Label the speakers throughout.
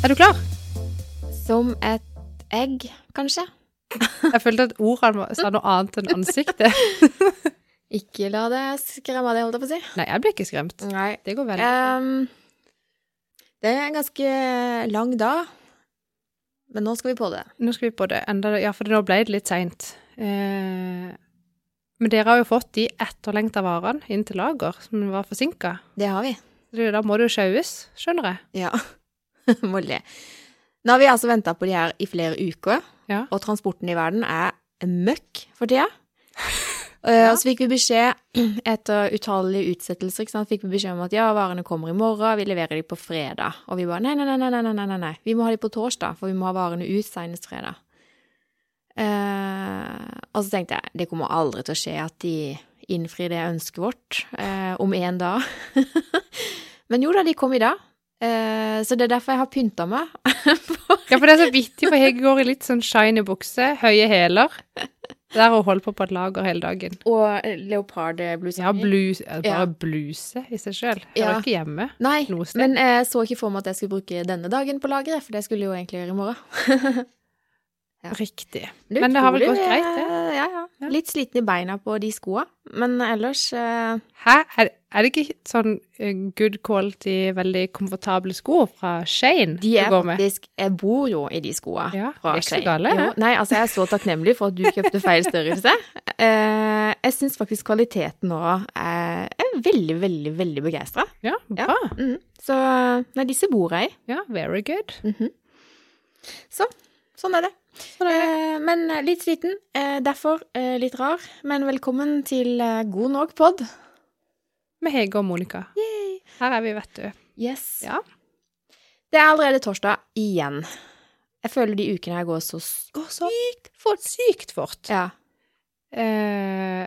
Speaker 1: Er du klar?
Speaker 2: Som et egg, kanskje?
Speaker 1: Jeg følte at ordene var- sa noe annet enn ansiktet.
Speaker 2: Ikke la det skremme deg, holdt jeg på å si.
Speaker 1: Nei, jeg ble ikke skremt.
Speaker 2: Nei.
Speaker 1: Det går vel.
Speaker 2: Ehm, det er en ganske lang dag, men nå skal vi på det.
Speaker 1: Nå skal vi på det enda Ja, for nå ble det litt seint. Eh, men dere har jo fått de etterlengta varene inn til lager, som var forsinka.
Speaker 2: Det har vi.
Speaker 1: Da må det jo sjaues, skjønner jeg.
Speaker 2: Ja. Må le. Nå har vi altså venta på de her i flere uker,
Speaker 1: Ja.
Speaker 2: og transporten i verden er møkk for tida. Eh,
Speaker 1: Ja.
Speaker 2: Og så fikk vi beskjed etter utallige utsettelser ikke sant? fikk vi beskjed om at ja, varene kommer i morgen, vi leverer de på fredag. Og vi bare nei, nei, nei, nei, nei, nei, nei, nei. vi må ha de på torsdag, for vi må ha varene ut senest fredag. Eh, og så tenkte jeg det kommer aldri til å skje at de innfrir det ønsket vårt eh, om én dag. Men jo da, de kom i dag. Eh, så det er derfor jeg har pynta meg.
Speaker 1: Ja, for det er så vittig, for Hege går i litt sånn shiny bukse, høye hæler. Der hun holder på på et lager hele dagen.
Speaker 2: Og eh, leopardblusa
Speaker 1: Ja, bluse, eh,
Speaker 2: Sånn. Ja.
Speaker 1: bare bluse i seg sjøl.
Speaker 2: Ja.
Speaker 1: Hører ikke hjemme
Speaker 2: Nei,
Speaker 1: noe sted.
Speaker 2: men jeg så ikke for meg at jeg skulle bruke denne dagen på lageret, for det skulle jeg jo egentlig gjøre i morgen. ja.
Speaker 1: Riktig.
Speaker 2: er
Speaker 1: Men det har vel
Speaker 2: utrolig,
Speaker 1: gått greit, det?
Speaker 2: eh, Ja,
Speaker 1: Ja.
Speaker 2: ja. Litt sliten i beina på de skoa, men ellers eh,
Speaker 1: Hæ? Er, er det ikke sånn eh, good quality, veldig komfortable sko fra Shane
Speaker 2: De er
Speaker 1: du går med?
Speaker 2: faktisk Jeg bor jo i de skoa.
Speaker 1: Ja,
Speaker 2: fra
Speaker 1: det er ikke så
Speaker 2: Shane.
Speaker 1: gale,
Speaker 2: Jo,
Speaker 1: det.
Speaker 2: Nei, altså jeg er så takknemlig for at du kjøpte feil størrelse. Eh, jeg syns faktisk kvaliteten nå er, jeg er veldig, veldig, veldig begeistra.
Speaker 1: Ja,
Speaker 2: Ja.
Speaker 1: bra.
Speaker 2: Mm. Så nei, disse bor jeg i.
Speaker 1: Ja, very good.
Speaker 2: Mhm. Så sånn er det. Eh, men litt sliten, eh, derfor eh, litt rar. Men velkommen til eh, God nok pod.
Speaker 1: Med Hege og Monica. Her er vi, vet du.
Speaker 2: Yes.
Speaker 1: Ja.
Speaker 2: Det er allerede torsdag igjen. Jeg føler de ukene her går så s-
Speaker 1: Går så sykt fort. Sykt fort.
Speaker 2: Ja.
Speaker 1: Eh,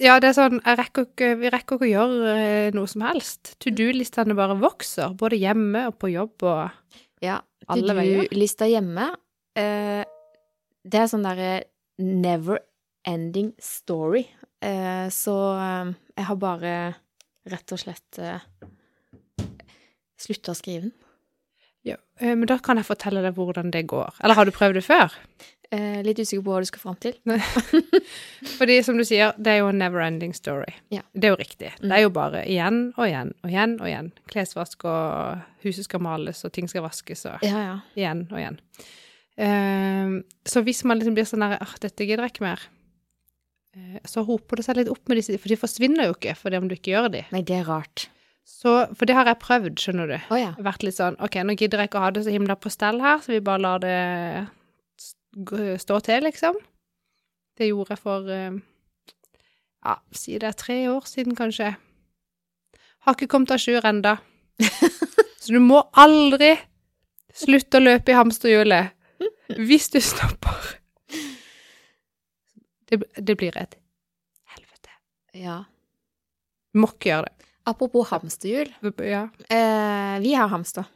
Speaker 1: ja, det er sånn jeg rekker ikke, Vi rekker ikke å gjøre eh, noe som helst. To do-listene bare vokser, både hjemme og på jobb og
Speaker 2: ja.
Speaker 1: Alle veier.
Speaker 2: To-do-lista hjemme. Eh, det er sånn derre never ending story. Eh, så eh, jeg har bare rett og slett eh, slutta å skrive den.
Speaker 1: ja. eh, Men da kan jeg fortelle deg hvordan det går. Eller har du prøvd det før?
Speaker 2: Eh, litt usikker på hva du skal fram til.
Speaker 1: Fordi som du sier, det er jo en never-ending story.
Speaker 2: Ja.
Speaker 1: Det er jo riktig.
Speaker 2: Mm.
Speaker 1: Det er jo bare igjen og igjen og igjen og igjen. Klesvask og huset skal males og ting skal vaskes og
Speaker 2: Ja, ja.
Speaker 1: igjen og igjen. Eh, så hvis man liksom blir sånn der, ah, dette gidder jeg ikke mer, eh, så hoper det seg litt opp med disse, for de forsvinner jo ikke for det om du ikke gjør de.
Speaker 2: Nei, det er rart.
Speaker 1: Så, for det har jeg prøvd, skjønner du.
Speaker 2: Å ja.
Speaker 1: Vært litt sånn, ok, nå gidder jeg ikke å ha det så himla på stell her, så vi bare lar det s- gå- stå til, liksom. Det gjorde jeg for, eh, ja, si det er tre år siden, kanskje. Har ikke kommet av sjur enda. Så du må aldri slutte å løpe i hamsterhjulet hvis du stopper. Det, det blir et helvete.
Speaker 2: ja.
Speaker 1: Du må ikke gjøre
Speaker 2: Apropos hamsterhjul.
Speaker 1: det. Ja,
Speaker 2: Eh, vi har hamster.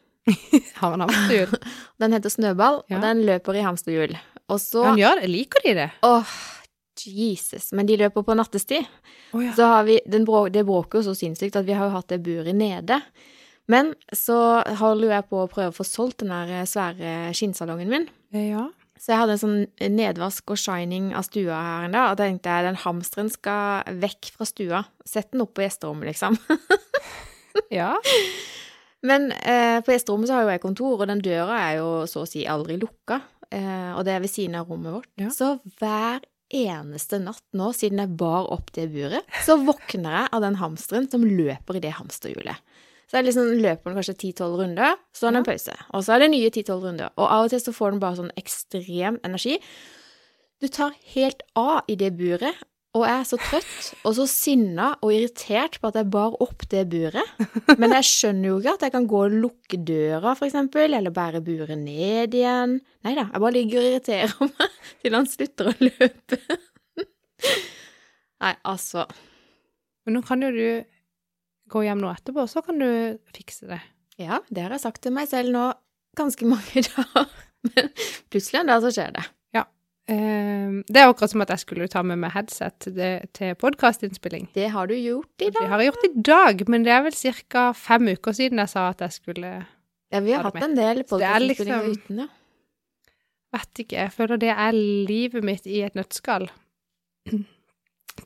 Speaker 1: har en hamsterhjul.
Speaker 2: Den heter Snøball,
Speaker 1: Ja.
Speaker 2: og den løper i hamsterhjul. Og så
Speaker 1: Han gjør det, liker de det?
Speaker 2: Åh, Jesus. Men de løper på nattestid.
Speaker 1: Å ja.
Speaker 2: Så har vi den brå, Det bråker jo så sinnssykt at vi har jo hatt det buret nede. Men så holder jo jeg på å prøve å få solgt den der svære skinnsalongen min.
Speaker 1: ja.
Speaker 2: Så jeg hadde en sånn nedvask og shining av stua her en dag, og da tenkte jeg den hamsteren skal vekk fra stua. Sett den opp på gjesterommet, liksom.
Speaker 1: Ja.
Speaker 2: Men eh, på gjesterommet så har jo jeg kontor, og den døra er jo så å si aldri lukka. Eh, og det er ved siden av rommet vårt.
Speaker 1: Ja.
Speaker 2: Så hver eneste natt nå, siden jeg bar opp det buret, så våkner jeg av den hamsteren som løper i det hamsterhjulet. Så jeg liksom løper den kanskje 10-12 runder, så er det en pause. Og så er det nye 10-12 runder. Og av og til så får den bare sånn ekstrem energi. Du tar helt av i det buret, og jeg er så trøtt og så sinna og irritert på at jeg bar opp det buret. Men jeg skjønner jo ikke at jeg kan gå og lukke døra, for eksempel, eller bære buret ned igjen. Nei da, jeg bare ligger og irriterer meg til han slutter å løpe. Nei, altså.
Speaker 1: Men nå kan jo du gå hjem nå etterpå, så kan du fikse det.
Speaker 2: Ja, det har jeg sagt til meg selv nå ganske mange dager. Men plutselig en dag så skjer det.
Speaker 1: Ehm, det er akkurat som at jeg skulle ta med meg headset til det- til podkastinnspilling.
Speaker 2: Det har du gjort i
Speaker 1: Det
Speaker 2: dag.
Speaker 1: har jeg gjort i dag, men det er vel ca. fem uker siden jeg sa at jeg skulle
Speaker 2: Ja, vi har
Speaker 1: Har du
Speaker 2: hatt en del
Speaker 1: Så det er
Speaker 2: podkastinnspillinger
Speaker 1: liksom-
Speaker 2: uten, ja.
Speaker 1: Vet ikke. Jeg føler det er livet mitt i et nøttskall.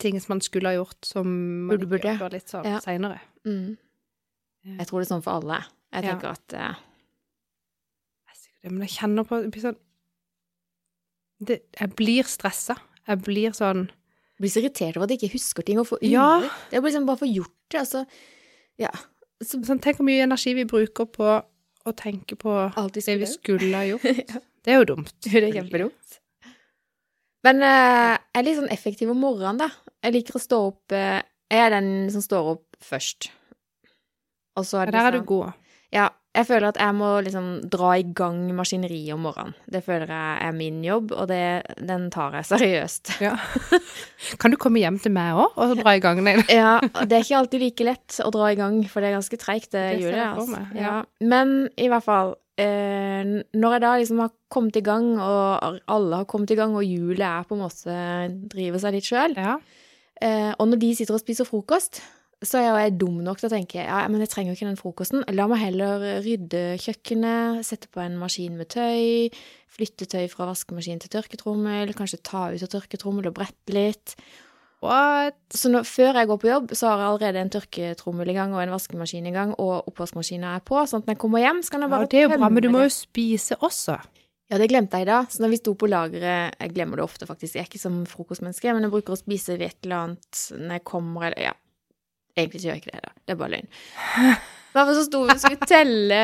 Speaker 1: Ting som man skulle ha gjort, som man
Speaker 2: Burde,
Speaker 1: ikke
Speaker 2: burde.
Speaker 1: gjør litt sånn
Speaker 2: Ja.
Speaker 1: seinere.
Speaker 2: Mm. Jeg tror det er sånn for alle. Jeg
Speaker 1: Ja.
Speaker 2: tenker at eh,
Speaker 1: Men jeg kjenner på det blir sånn det, Jeg blir stressa. Jeg blir sånn
Speaker 2: Jeg blir så irritert over at jeg ikke husker ting. Og får
Speaker 1: Ja.
Speaker 2: unna det. Jeg blir liksom bare får gjort det. Altså, ja. Så
Speaker 1: sånn, Tenk hvor mye energi vi bruker på å tenke på
Speaker 2: alt vi
Speaker 1: det vi
Speaker 2: skulle
Speaker 1: skulle ha gjort. Det er jo dumt.
Speaker 2: Det er kjempedumt. Men eh, jeg er litt sånn effektiv om morgenen, da. Jeg liker å stå opp eh, Jeg er den som står opp først. Og så er
Speaker 1: Ja,
Speaker 2: det
Speaker 1: der er du
Speaker 2: sånn
Speaker 1: god.
Speaker 2: Ja, jeg føler at jeg må liksom dra i gang maskineriet om morgenen. Det føler jeg er min jobb, og det, den tar jeg seriøst.
Speaker 1: Kan du komme hjem til meg òg og dra i gang? Nei.
Speaker 2: Ja, det er ikke alltid like lett å dra i gang, for det er ganske treigt, det,
Speaker 1: Det ser
Speaker 2: hjulet.
Speaker 1: jeg for
Speaker 2: Altså.
Speaker 1: meg,
Speaker 2: Ja.
Speaker 1: ja.
Speaker 2: Men i hvert fall, eh, når jeg da liksom har kommet i gang, og alle har kommet i gang, og hjulet er på en måte driver seg litt sjøl,
Speaker 1: Ja.
Speaker 2: eh, og når de sitter og spiser frokost, så er jeg dum nok til å tenke ja, men jeg trenger jo ikke den frokosten. La meg heller rydde kjøkkenet, sette på en maskin med tøy, flytte tøy fra vaskemaskin til tørketrommel, kanskje ta ut av tørketrommel og brette litt.
Speaker 1: What?
Speaker 2: Så nå, før jeg går på jobb, så har jeg allerede en tørketrommel i gang og en vaskemaskin i gang, og oppvaskmaskina er på. Sånn at når jeg kommer hjem, så kan jeg
Speaker 1: Ja,
Speaker 2: bare
Speaker 1: det er jo bra, men du må
Speaker 2: tømme
Speaker 1: jo spise også.
Speaker 2: det. Ja, det glemte jeg i dag. Så når vi sto på lageret Jeg glemmer det ofte, faktisk. Jeg er ikke som frokostmenneske, men jeg bruker å spise et eller annet når jeg kommer, eller Ja. Egentlig så gjør jeg ikke det, da. Det er bare løgn. I hvert fall så sto vi og skulle telle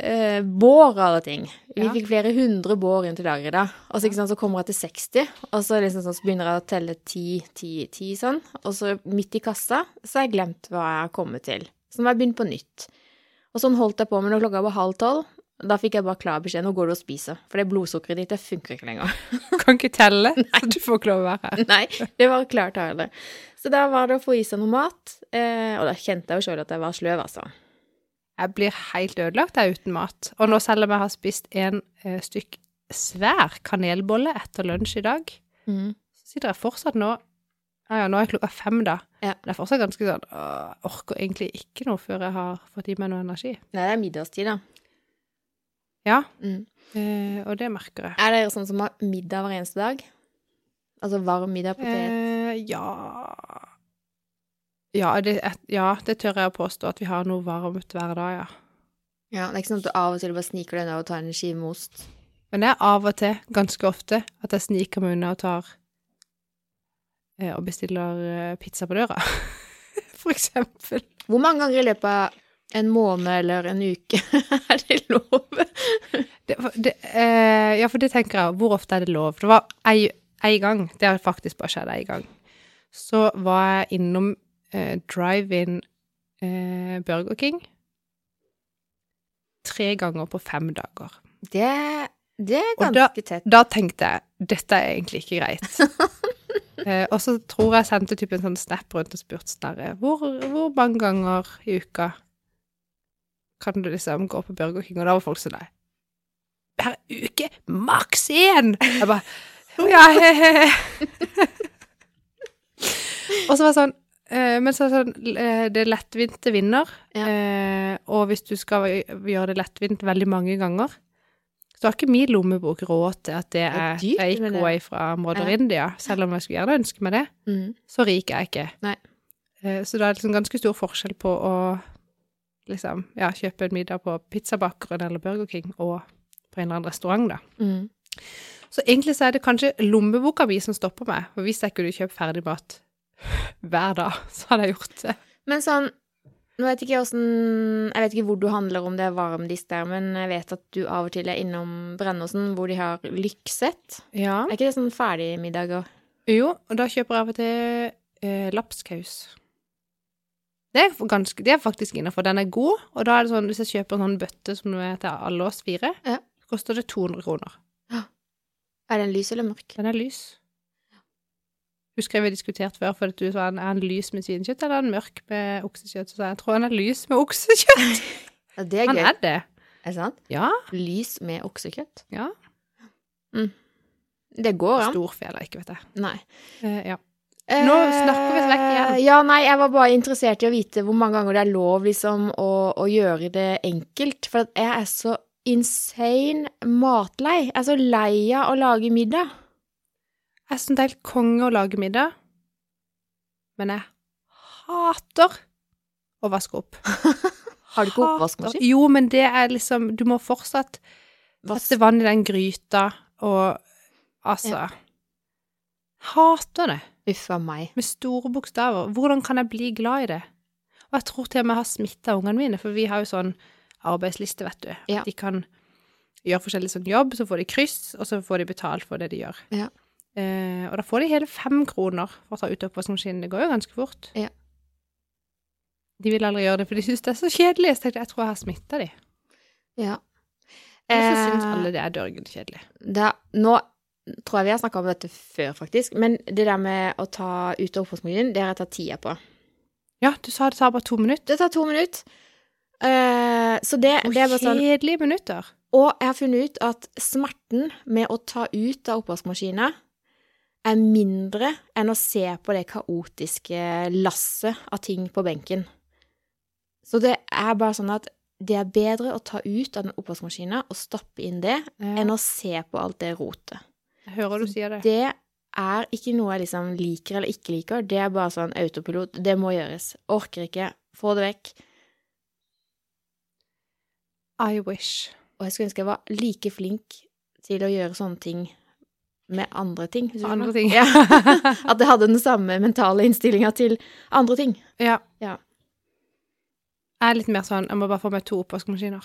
Speaker 2: eh, bår og alle ting. Vi
Speaker 1: Ja.
Speaker 2: fikk flere hundre bår inn til lageret da. Og så, ikke sant, så kommer jeg til 60, og så, liksom, sånn, så begynner jeg å telle 10, 10, 10 sånn. Og så midt i kassa så har jeg glemt hva jeg har kommet til. Så nå må jeg begynne på nytt. Og sånn holdt jeg på med når klokka var halv tolv. Da fikk jeg bare klar beskjed nå går du og spiser, for det blodsukkeret ditt det funker ikke lenger.
Speaker 1: Du kan ikke telle, så du får ikke lov å være her.
Speaker 2: Nei, det var klart tale. Så da var det å få i seg noe mat, eh, og da kjente jeg jo sjøl at jeg var sløv, altså.
Speaker 1: Jeg blir helt ødelagt jeg uten mat. Og nå selv om jeg har spist en eh, stykk svær kanelbolle etter lunsj i dag,
Speaker 2: Mm.
Speaker 1: så sitter jeg fortsatt nå Ja, ja, nå er klokka fem, da.
Speaker 2: Ja.
Speaker 1: Men jeg er fortsatt ganske sånn «Åh, Orker egentlig ikke noe før jeg har fått i meg noe energi.
Speaker 2: Nei, det er middagstid, da.
Speaker 1: Ja,
Speaker 2: Mm.
Speaker 1: eh, og det merker jeg.
Speaker 2: Er dere sånn som har middag hver eneste dag? Altså varm middag, potet
Speaker 1: Eh, ja ja det, ja, det tør jeg å påstå, at vi har noe varmt hver dag, ja.
Speaker 2: Ja, Det er ikke sånn at du av og til bare sniker deg unna og tar en skive med ost?
Speaker 1: Men det er av og til, ganske ofte, at jeg sniker meg unna og tar eh, og bestiller eh, pizza på døra. For eksempel.
Speaker 2: Hvor mange ganger i løpet av en måned eller en uke er det lov?
Speaker 1: Det, det, eh, ja, for det tenker jeg, hvor ofte er det lov? Det var ei, ei gang, det har faktisk bare skjedd ei gang, så var jeg innom eh, drive-in eh, Burger King tre ganger på fem dager.
Speaker 2: Det, det er
Speaker 1: Og
Speaker 2: ganske
Speaker 1: da-
Speaker 2: tett.
Speaker 1: Da tenkte jeg dette er egentlig ikke greit. eh, og så tror jeg jeg sendte typ en sånn snap rundt og spurte Snorre hvor, hvor mange ganger i uka kan du liksom gå på Burger King? Og da var folk sånn nei. Hver uke maks én! Jeg bare «Å ja, he, he, he. Og så var det sånn eh, Men så er det sånn eh, Det er lettvinte vinner.
Speaker 2: Ja.
Speaker 1: Eh, og hvis du skal gjøre det lettvint veldig mange ganger, så har ikke min lommebok råd til at det
Speaker 2: er
Speaker 1: er
Speaker 2: dyrt, men det-
Speaker 1: takeaway fra Mother
Speaker 2: Ja.
Speaker 1: India, selv om jeg skulle gjerne ønske meg det.
Speaker 2: Mm.
Speaker 1: Så rik er jeg ikke.
Speaker 2: Nei.
Speaker 1: Eh, Så det er liksom ganske stor forskjell på å liksom, ja, kjøpe en middag på pizzabakeren eller Burger King og på en eller annen restaurant, da.
Speaker 2: Mm.
Speaker 1: Så egentlig så er det kanskje lommeboka mi som stopper meg, for hvis jeg kunne kjøpe ferdig mat hver dag, så hadde jeg gjort det.
Speaker 2: Men sånn nå vet ikke jeg, hvordan, jeg vet ikke hvor du handler om det er varmdisk der, men jeg vet at du av og til er innom Brennåsen, hvor de har Lyksett.
Speaker 1: Ja.
Speaker 2: Er ikke det sånn ferdigmiddager?
Speaker 1: Jo, og da kjøper jeg av og til eh, lapskaus. Det er, ganske, det er faktisk innafor. Den er god, og da er det sånn hvis jeg kjøper en sånn bøtte som nå er til alle oss fire,
Speaker 2: Ja.
Speaker 1: så koster det 200 kroner.
Speaker 2: Er den lys eller mørk?
Speaker 1: Den er lys. Husker jeg vi har diskutert før, for at du sa han er en lys med svinekjøtt eller en mørk med oksekjøtt. Så sa jeg, jeg tror han er lys med oksekjøtt.
Speaker 2: Ja, det er
Speaker 1: Han
Speaker 2: gøy.
Speaker 1: er det.
Speaker 2: Er det sant?
Speaker 1: Ja.
Speaker 2: Lys med oksekjøtt? Mm.
Speaker 1: ja.
Speaker 2: Det går an.
Speaker 1: Storfe eller ikke, vet jeg.
Speaker 2: Nei.
Speaker 1: Eh, ja. Nå snakker vi oss vekk igjen.
Speaker 2: Eh, Ja, nei, jeg var bare interessert i å vite hvor mange ganger det er lov liksom å, å gjøre det enkelt, for at jeg er så insane matlei. Jeg er så lei av å lage middag.
Speaker 1: Jeg syns det er helt konge å lage middag, men jeg hater å vaske opp.
Speaker 2: Har du ikke
Speaker 1: Hater-
Speaker 2: oppvaskmaskin?
Speaker 1: Jo, men det er liksom Du må fortsatt
Speaker 2: Vask-
Speaker 1: sette vann i den gryta og Altså Hater det.
Speaker 2: Uff a meg.
Speaker 1: Med store bokstaver. Hvordan kan jeg bli glad i det? Og jeg tror til og med jeg har smitta ungene mine, for vi har jo sånn arbeidsliste, vet du.
Speaker 2: Ja.
Speaker 1: At de kan gjøre forskjellig sånn jobb, så får de kryss, og så får de betalt for det de gjør.
Speaker 2: Ja.
Speaker 1: Eh, og da får de hele fem kroner for å ta ut oppvaskmaskinen. Det går jo ganske fort.
Speaker 2: Ja.
Speaker 1: De vil aldri gjøre det, for de syns det er så kjedelig. Så jeg tenkte, jeg tror jeg har smitta de.
Speaker 2: Ja.
Speaker 1: Og så
Speaker 2: Eh,
Speaker 1: syns alle det er dørgende kjedelig.
Speaker 2: det, nå tror jeg vi har snakka om dette før, faktisk, men det der med å ta ut av oppvaskmaskinen, det har jeg tatt tida på.
Speaker 1: Ja, du sa det tar bare to minutter.
Speaker 2: Det tar to minutter. Eh, så det,
Speaker 1: Og
Speaker 2: det er bare sånn
Speaker 1: kjedelige minutter.
Speaker 2: Og jeg har funnet ut at smerten med å ta ut av oppvaskmaskina er mindre enn å se på det kaotiske lasset av ting på benken. Så det er bare sånn at det er bedre å ta ut av den oppvaskmaskina og stappe inn det,
Speaker 1: Ja.
Speaker 2: enn å se på alt det rotet.
Speaker 1: Jeg Eh, hører du sier det.
Speaker 2: Det er ikke noe jeg liksom liker eller ikke liker. Det er bare sånn autopilot. Det må gjøres. Orker ikke. Få det vekk.
Speaker 1: I wish.
Speaker 2: Og jeg skulle ønske jeg var like flink til å gjøre sånne ting med andre ting. hvis du
Speaker 1: Andre
Speaker 2: skjønner.
Speaker 1: ting.
Speaker 2: Ja. At jeg hadde den samme mentale innstillinga til andre ting.
Speaker 1: Ja.
Speaker 2: Ja.
Speaker 1: Jeg er litt mer sånn Jeg må bare få meg to oppvaskmaskiner.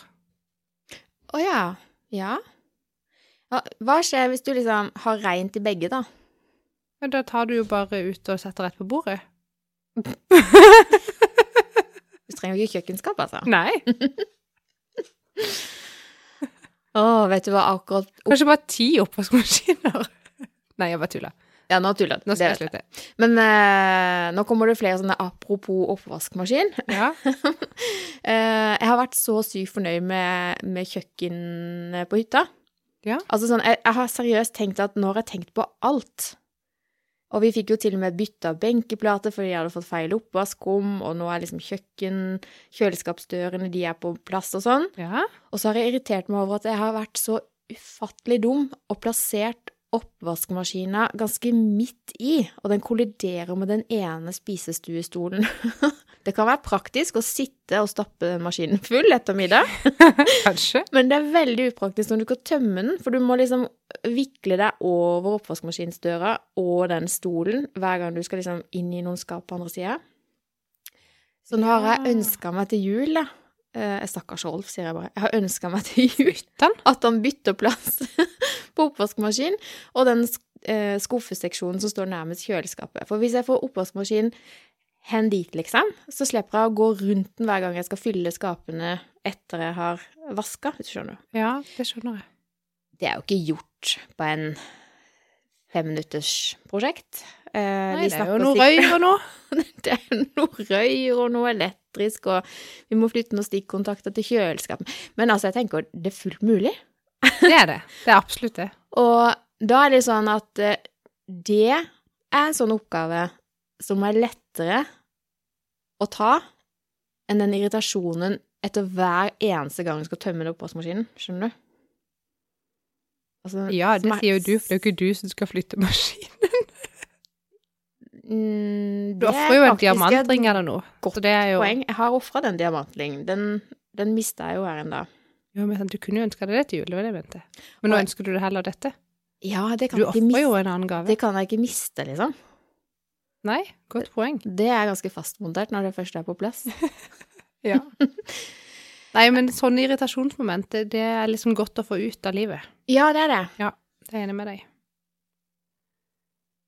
Speaker 2: Å ja. Ja. Ja, Hva skjer hvis du liksom har reint i begge, da?
Speaker 1: Men da tar du jo bare ut og setter rett på bordet.
Speaker 2: Du trenger jo ikke kjøkkenskap, altså.
Speaker 1: Nei.
Speaker 2: Å, vet du hva akkurat
Speaker 1: Kanskje bare ti oppvaskmaskiner. Nei, jeg bare tuller.
Speaker 2: Ja, nå tuller
Speaker 1: Nå skal jeg
Speaker 2: Det-
Speaker 1: slutte.
Speaker 2: Men eh, nå kommer det flere sånne apropos oppvaskmaskin.
Speaker 1: Ja.
Speaker 2: Eh, jeg har vært så sykt fornøyd med, med kjøkkenet på hytta.
Speaker 1: Ja.
Speaker 2: Altså sånn, jeg, jeg har seriøst tenkt at nå har jeg tenkt på alt. Og vi fikk jo til og med bytta benkeplater fordi jeg hadde fått feil oppvaskum, og nå er liksom kjøkken, kjøleskapsdørene, de er på plass og sånn.
Speaker 1: ja.
Speaker 2: Og så har jeg irritert meg over at jeg har vært så ufattelig dum og plassert oppvaskmaskina ganske midt i, og den kolliderer med den ene spisestuestolen. Det kan være praktisk å sitte og stappe den maskinen full etter middag,
Speaker 1: Kanskje.
Speaker 2: men det er veldig upraktisk når du skal tømme den, for du må liksom vikle deg over oppvaskmaskinsdøra og den stolen hver gang du skal liksom inn i noen skap på andre sida. Så nå har
Speaker 1: Ja.
Speaker 2: jeg ønska meg til jul, da. Eh, Stakkars Rolf, sier jeg bare. Jeg har ønska meg til jul
Speaker 1: Den.
Speaker 2: at han bytter plass på oppvaskmaskin og den eh, skuffeseksjonen som står nærmest kjøleskapet. For hvis jeg får oppvaskmaskinen hen dit, liksom, så slipper jeg å gå rundt den hver gang jeg skal fylle skapene etter jeg har vaska, hvis du skjønner.
Speaker 1: Ja, det skjønner jeg.
Speaker 2: Det er jo ikke gjort på en femminutters prosjekt. Eh,
Speaker 1: Nei,
Speaker 2: vi
Speaker 1: det er jo
Speaker 2: snakker
Speaker 1: noe
Speaker 2: sikkert-
Speaker 1: røyr og noe.
Speaker 2: det er noe røyr og noe elektrisk, og vi må flytte noen stikkontakter til kjøleskapet. Men altså, jeg tenker det er fullt mulig.
Speaker 1: Det er det. Det er absolutt det.
Speaker 2: Og da er det sånn at eh, det er en sånn oppgave som er lettere å ta enn den irritasjonen etter hver eneste gang du skal tømme den oppvaskmaskinen. Skjønner du? Altså,
Speaker 1: Ja, det
Speaker 2: smer-
Speaker 1: sier jo du, for det er jo ikke du som skal flytte maskin.
Speaker 2: Mm,
Speaker 1: Du
Speaker 2: det er
Speaker 1: ofrer jo en
Speaker 2: faktisk et
Speaker 1: diamantring eller noe.
Speaker 2: godt
Speaker 1: Så det er jo
Speaker 2: Poeng. Jeg har ofra den diamantlingen. Den, den mista jeg jo her en dag.
Speaker 1: Jo, men sant, Du kunne jo ønska deg det til jul, det var det jeg mente. Men nå
Speaker 2: Og-
Speaker 1: ønsker du det heller dette.
Speaker 2: Ja, det kan,
Speaker 1: Du
Speaker 2: jeg
Speaker 1: ofrer
Speaker 2: ikke
Speaker 1: jo
Speaker 2: miste,
Speaker 1: en annen gave.
Speaker 2: det kan jeg ikke miste, liksom.
Speaker 1: Nei, godt poeng.
Speaker 2: Det er ganske fastmontert når det først er på plass.
Speaker 1: Ja. Nei, men sånne irritasjonsmomenter, det er liksom godt å få ut av livet.
Speaker 2: Ja, det er det.
Speaker 1: Det er jeg enig med deg.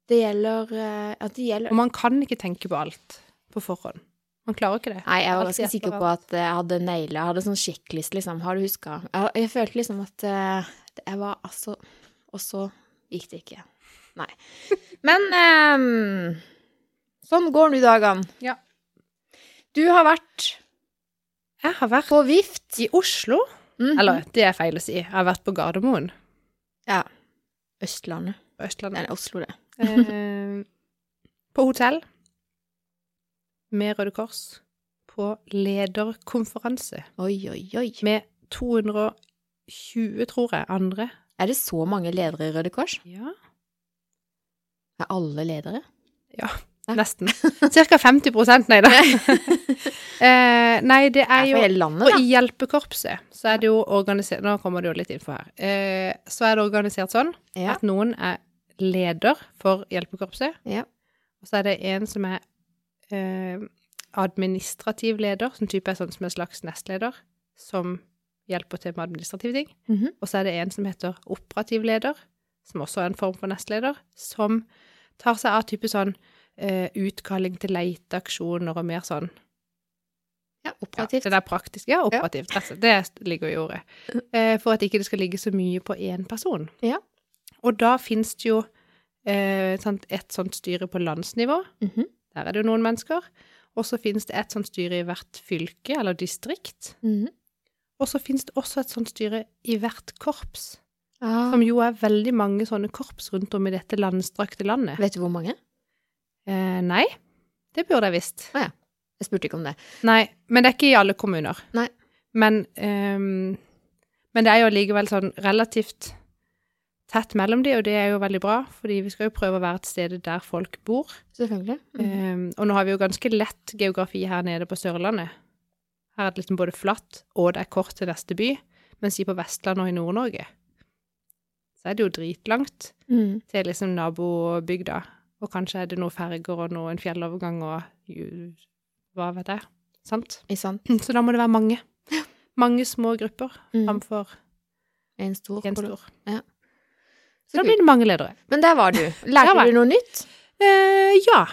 Speaker 2: Det gjelder eh, at det gjelder
Speaker 1: Og man kan ikke tenke på alt på forhånd. Man klarer ikke det.
Speaker 2: Nei, jeg var
Speaker 1: Alt
Speaker 2: ganske
Speaker 1: etter
Speaker 2: sikker på at jeg hadde naila Jeg hadde sånn sjekklist, liksom. Har du huska? Jeg, jeg følte liksom at eh, jeg var altså Og så gikk det ikke. Nei. Men ehm, sånn går nå dagene.
Speaker 1: Ja.
Speaker 2: Du har vært
Speaker 1: Jeg har vært
Speaker 2: på vift.
Speaker 1: i Oslo.
Speaker 2: Mhm.
Speaker 1: Eller, det er feil å si. Jeg har vært på Gardermoen
Speaker 2: Ja. Østlandet.
Speaker 1: på Østlandet.
Speaker 2: Eller Oslo, det.
Speaker 1: Eh, på hotell. Med Røde Kors. på lederkonferanse
Speaker 2: Oi, oi, oi.
Speaker 1: med 220, tror jeg, andre.
Speaker 2: Er det så mange ledere i Røde Kors?
Speaker 1: Ja.
Speaker 2: Er alle ledere?
Speaker 1: Nesten. Cirka 50 nei da. eh, nei, det
Speaker 2: Det
Speaker 1: er
Speaker 2: er
Speaker 1: jo
Speaker 2: for hele landet,
Speaker 1: Og
Speaker 2: da.
Speaker 1: i hjelpekorpset så er det jo organisert Nå kommer det jo litt info her. Eh, så er det organisert sånn
Speaker 2: Ja.
Speaker 1: at noen er leder for hjelpekorpset,
Speaker 2: Ja.
Speaker 1: og så er det en som er eh, administrativ leder, som type er sånn som en slags nestleder, som hjelper til med administrative ting.
Speaker 2: Mhm.
Speaker 1: Og så er det en som heter operativ leder, som også er en form for nestleder, som tar seg av type sånn eh, utkalling til leteaksjoner og mer sånn
Speaker 2: ja
Speaker 1: ja,
Speaker 2: operativt.
Speaker 1: det der praktiske, ja, operativt. rett og slett. Det ligger i ordet. Eh, for at ikke det skal ligge så mye på én person.
Speaker 2: Ja.
Speaker 1: Og da fins det jo eh, sant, et sånt styre på landsnivå.
Speaker 2: Mhm.
Speaker 1: Der er det jo noen mennesker. Og så fins det et sånt styre i hvert fylke eller distrikt.
Speaker 2: Mhm.
Speaker 1: Og så fins det også et sånt styre i hvert korps.
Speaker 2: ah.
Speaker 1: Som jo er veldig mange sånne korps rundt om i dette landstrakte landet.
Speaker 2: Vet du hvor mange?
Speaker 1: Eh, nei, det burde jeg visst.
Speaker 2: Jeg spurte ikke om det.
Speaker 1: Nei, men det er ikke i alle kommuner.
Speaker 2: Nei.
Speaker 1: Men, ehm, men det er jo likevel sånn relativt tett mellom de, og det er jo veldig bra, fordi vi skal jo prøve å være et sted der folk bor.
Speaker 2: Selvfølgelig. Mhm.
Speaker 1: Ehm, og nå har vi jo ganske lett geografi her nede på Sørlandet. Her er det liksom både flatt, og det er kort til neste by, mens i på Vestland og i Nord-Norge, så er det jo dritlangt
Speaker 2: Mhm.
Speaker 1: til liksom nabobygda. Og kanskje er det noen ferger og noen fjellovergang og ju- hva vet jeg. Sant?
Speaker 2: Ikke sant?
Speaker 1: Så da må det være mange. Mange små grupper
Speaker 2: Mhm.
Speaker 1: framfor
Speaker 2: En stor.
Speaker 1: én stor.
Speaker 2: Så
Speaker 1: Så da
Speaker 2: kult.
Speaker 1: blir det mange ledere.
Speaker 2: Men der var du.
Speaker 1: Der var
Speaker 2: Lærte du
Speaker 1: jeg.
Speaker 2: noe nytt?
Speaker 1: Eh, ja,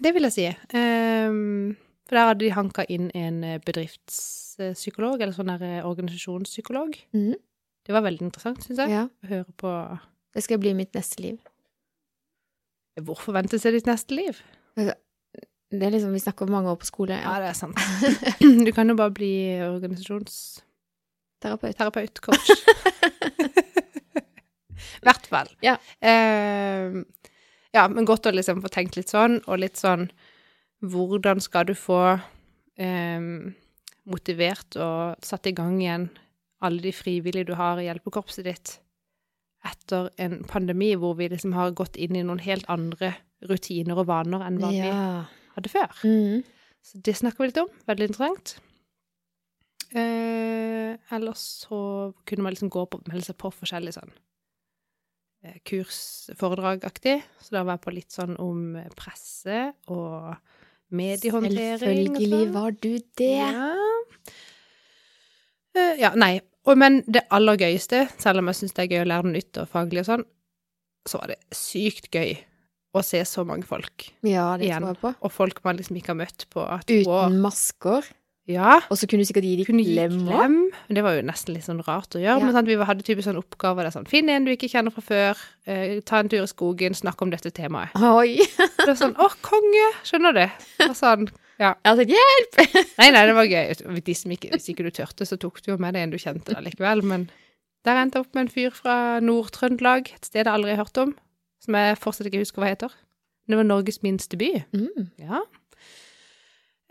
Speaker 1: det vil jeg si. Ehm, for der hadde de hanka inn en eh, bedriftspsykolog, eller sånn der eh, organisasjonspsykolog.
Speaker 2: Mhm.
Speaker 1: Det var veldig interessant, syns jeg.
Speaker 2: Ja.
Speaker 1: Å høre på
Speaker 2: Det skal bli mitt neste liv.
Speaker 1: Hvorfor ventes det ditt neste liv?
Speaker 2: Det er liksom, Vi snakker om mange år på skole.
Speaker 1: Ja,
Speaker 2: Ja.
Speaker 1: det er sant. Du kan jo bare bli organisasjons...
Speaker 2: Terapeut.
Speaker 1: terapeut, coach. I hvert fall.
Speaker 2: Ja.
Speaker 1: Eh, ja, men godt å liksom få tenkt litt sånn, og litt sånn Hvordan skal du få eh, motivert og satt i gang igjen alle de frivillige du har i hjelpekorpset ditt etter en pandemi hvor vi liksom har gått inn i noen helt andre rutiner og vaner enn hva
Speaker 2: Ja.
Speaker 1: vi hadde før?
Speaker 2: Mhm.
Speaker 1: Så det snakker vi litt om. Veldig interessant. Eh, ellers så kunne man liksom gå på, melde seg på forskjellig sånn eh, kurs, foredragaktig. Så da var jeg på litt sånn om presse og mediehåndtering. og
Speaker 2: Selvfølgelig
Speaker 1: sånn.
Speaker 2: var du det.
Speaker 1: Ja. Eh, ja, nei. Og, men det aller gøyeste, selv om jeg syns det er gøy å lære noe nytt og faglig og sånn, så var det sykt gøy å se så mange folk.
Speaker 2: Ja, det
Speaker 1: Igjen.
Speaker 2: tror jeg på.
Speaker 1: Og folk man liksom ikke har møtt på to år.
Speaker 2: Uten masker.
Speaker 1: Ja.
Speaker 2: Og så kunne du sikkert gi dem
Speaker 1: kunne gi
Speaker 2: klem
Speaker 1: klem.
Speaker 2: òg.
Speaker 1: Men det var jo nesten litt sånn rart å gjøre.
Speaker 2: Ja.
Speaker 1: Men sant, vi hadde typisk sånn oppgaver der sånn Finn en du ikke kjenner fra før, eh, ta en tur i skogen, snakk om dette temaet.
Speaker 2: Oi!
Speaker 1: Det var sånn Å, konge! Skjønner du? Og sånn
Speaker 2: Jeg har sagt
Speaker 1: Nei, nei, det var gøy. De som ikke, hvis ikke du tørte, så tok du jo med deg en du kjente da likevel. Men der endte jeg opp med en fyr fra Nord-Trøndelag, et sted jeg aldri har hørt om, som jeg fortsatt ikke husker hva heter. Men det var Norges minste by.
Speaker 2: Mm.
Speaker 1: Ja.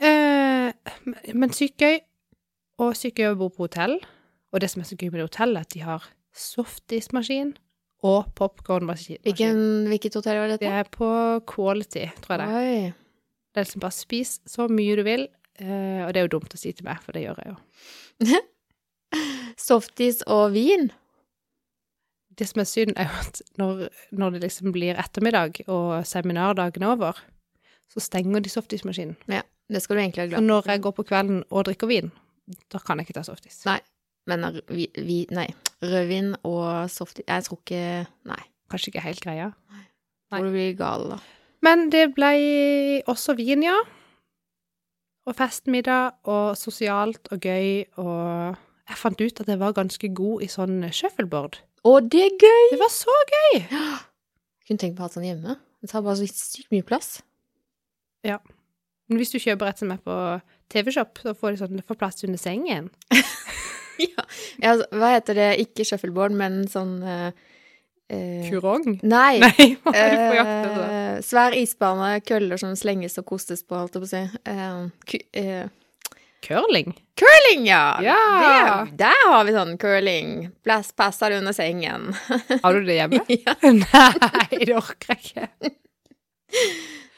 Speaker 1: Eh, men- men sykt gøy. Og sykt gøy å bo på hotell. Og det som er så gøy med det hotellet, er at de har softismaskin og popkornmaskin.
Speaker 2: Hvilken, hvilket hotell var
Speaker 1: Det
Speaker 2: dette?
Speaker 1: er på quality, tror jeg det er.
Speaker 2: Oi.
Speaker 1: Det er liksom bare spis så mye du vil. Eh, og det er jo dumt å si til meg, for det gjør jeg jo.
Speaker 2: Softis og vin.
Speaker 1: Det som er synd, er jo at når, når det liksom blir ettermiddag og seminardagen er over, så stenger de softismaskinen.
Speaker 2: Det skal du egentlig ha
Speaker 1: Så
Speaker 2: glemt.
Speaker 1: når jeg går på kvelden og drikker vin, da kan jeg ikke ta softis.
Speaker 2: Men er vi, vi, nei, rødvin og softis Jeg tror ikke Nei.
Speaker 1: Kanskje ikke helt greia. Nei.
Speaker 2: Tror du blir gal, da.
Speaker 1: Men det ble også vin, ja. Og festmiddag, og sosialt og gøy, og jeg fant ut at jeg var ganske god i sånn shuffleboard.
Speaker 2: Å, det er gøy!
Speaker 1: Det var så gøy!
Speaker 2: Kunne tenkt meg å ha sånn hjemme. Det tar bare så sykt mye plass.
Speaker 1: Men hvis du kjøper et som er på TV-shop, så får de sånn, det får plass under sengen.
Speaker 2: Ja, altså, hva heter det? Ikke shuffleboard, men sånn eh, eh,
Speaker 1: Kurong?
Speaker 2: Nei.
Speaker 1: Nei, hva er det for jakt? altså?
Speaker 2: Eh, svær isbane, køller som slenges og kostes på, holdt jeg på å si. Eh, ku, eh,
Speaker 1: Curling?
Speaker 2: curling, ja!
Speaker 1: Ja!
Speaker 2: Det, der har vi sånn curling. Plass, passer det under sengen.
Speaker 1: Har du det hjemme?
Speaker 2: ja,
Speaker 1: Nei, det orker jeg ikke.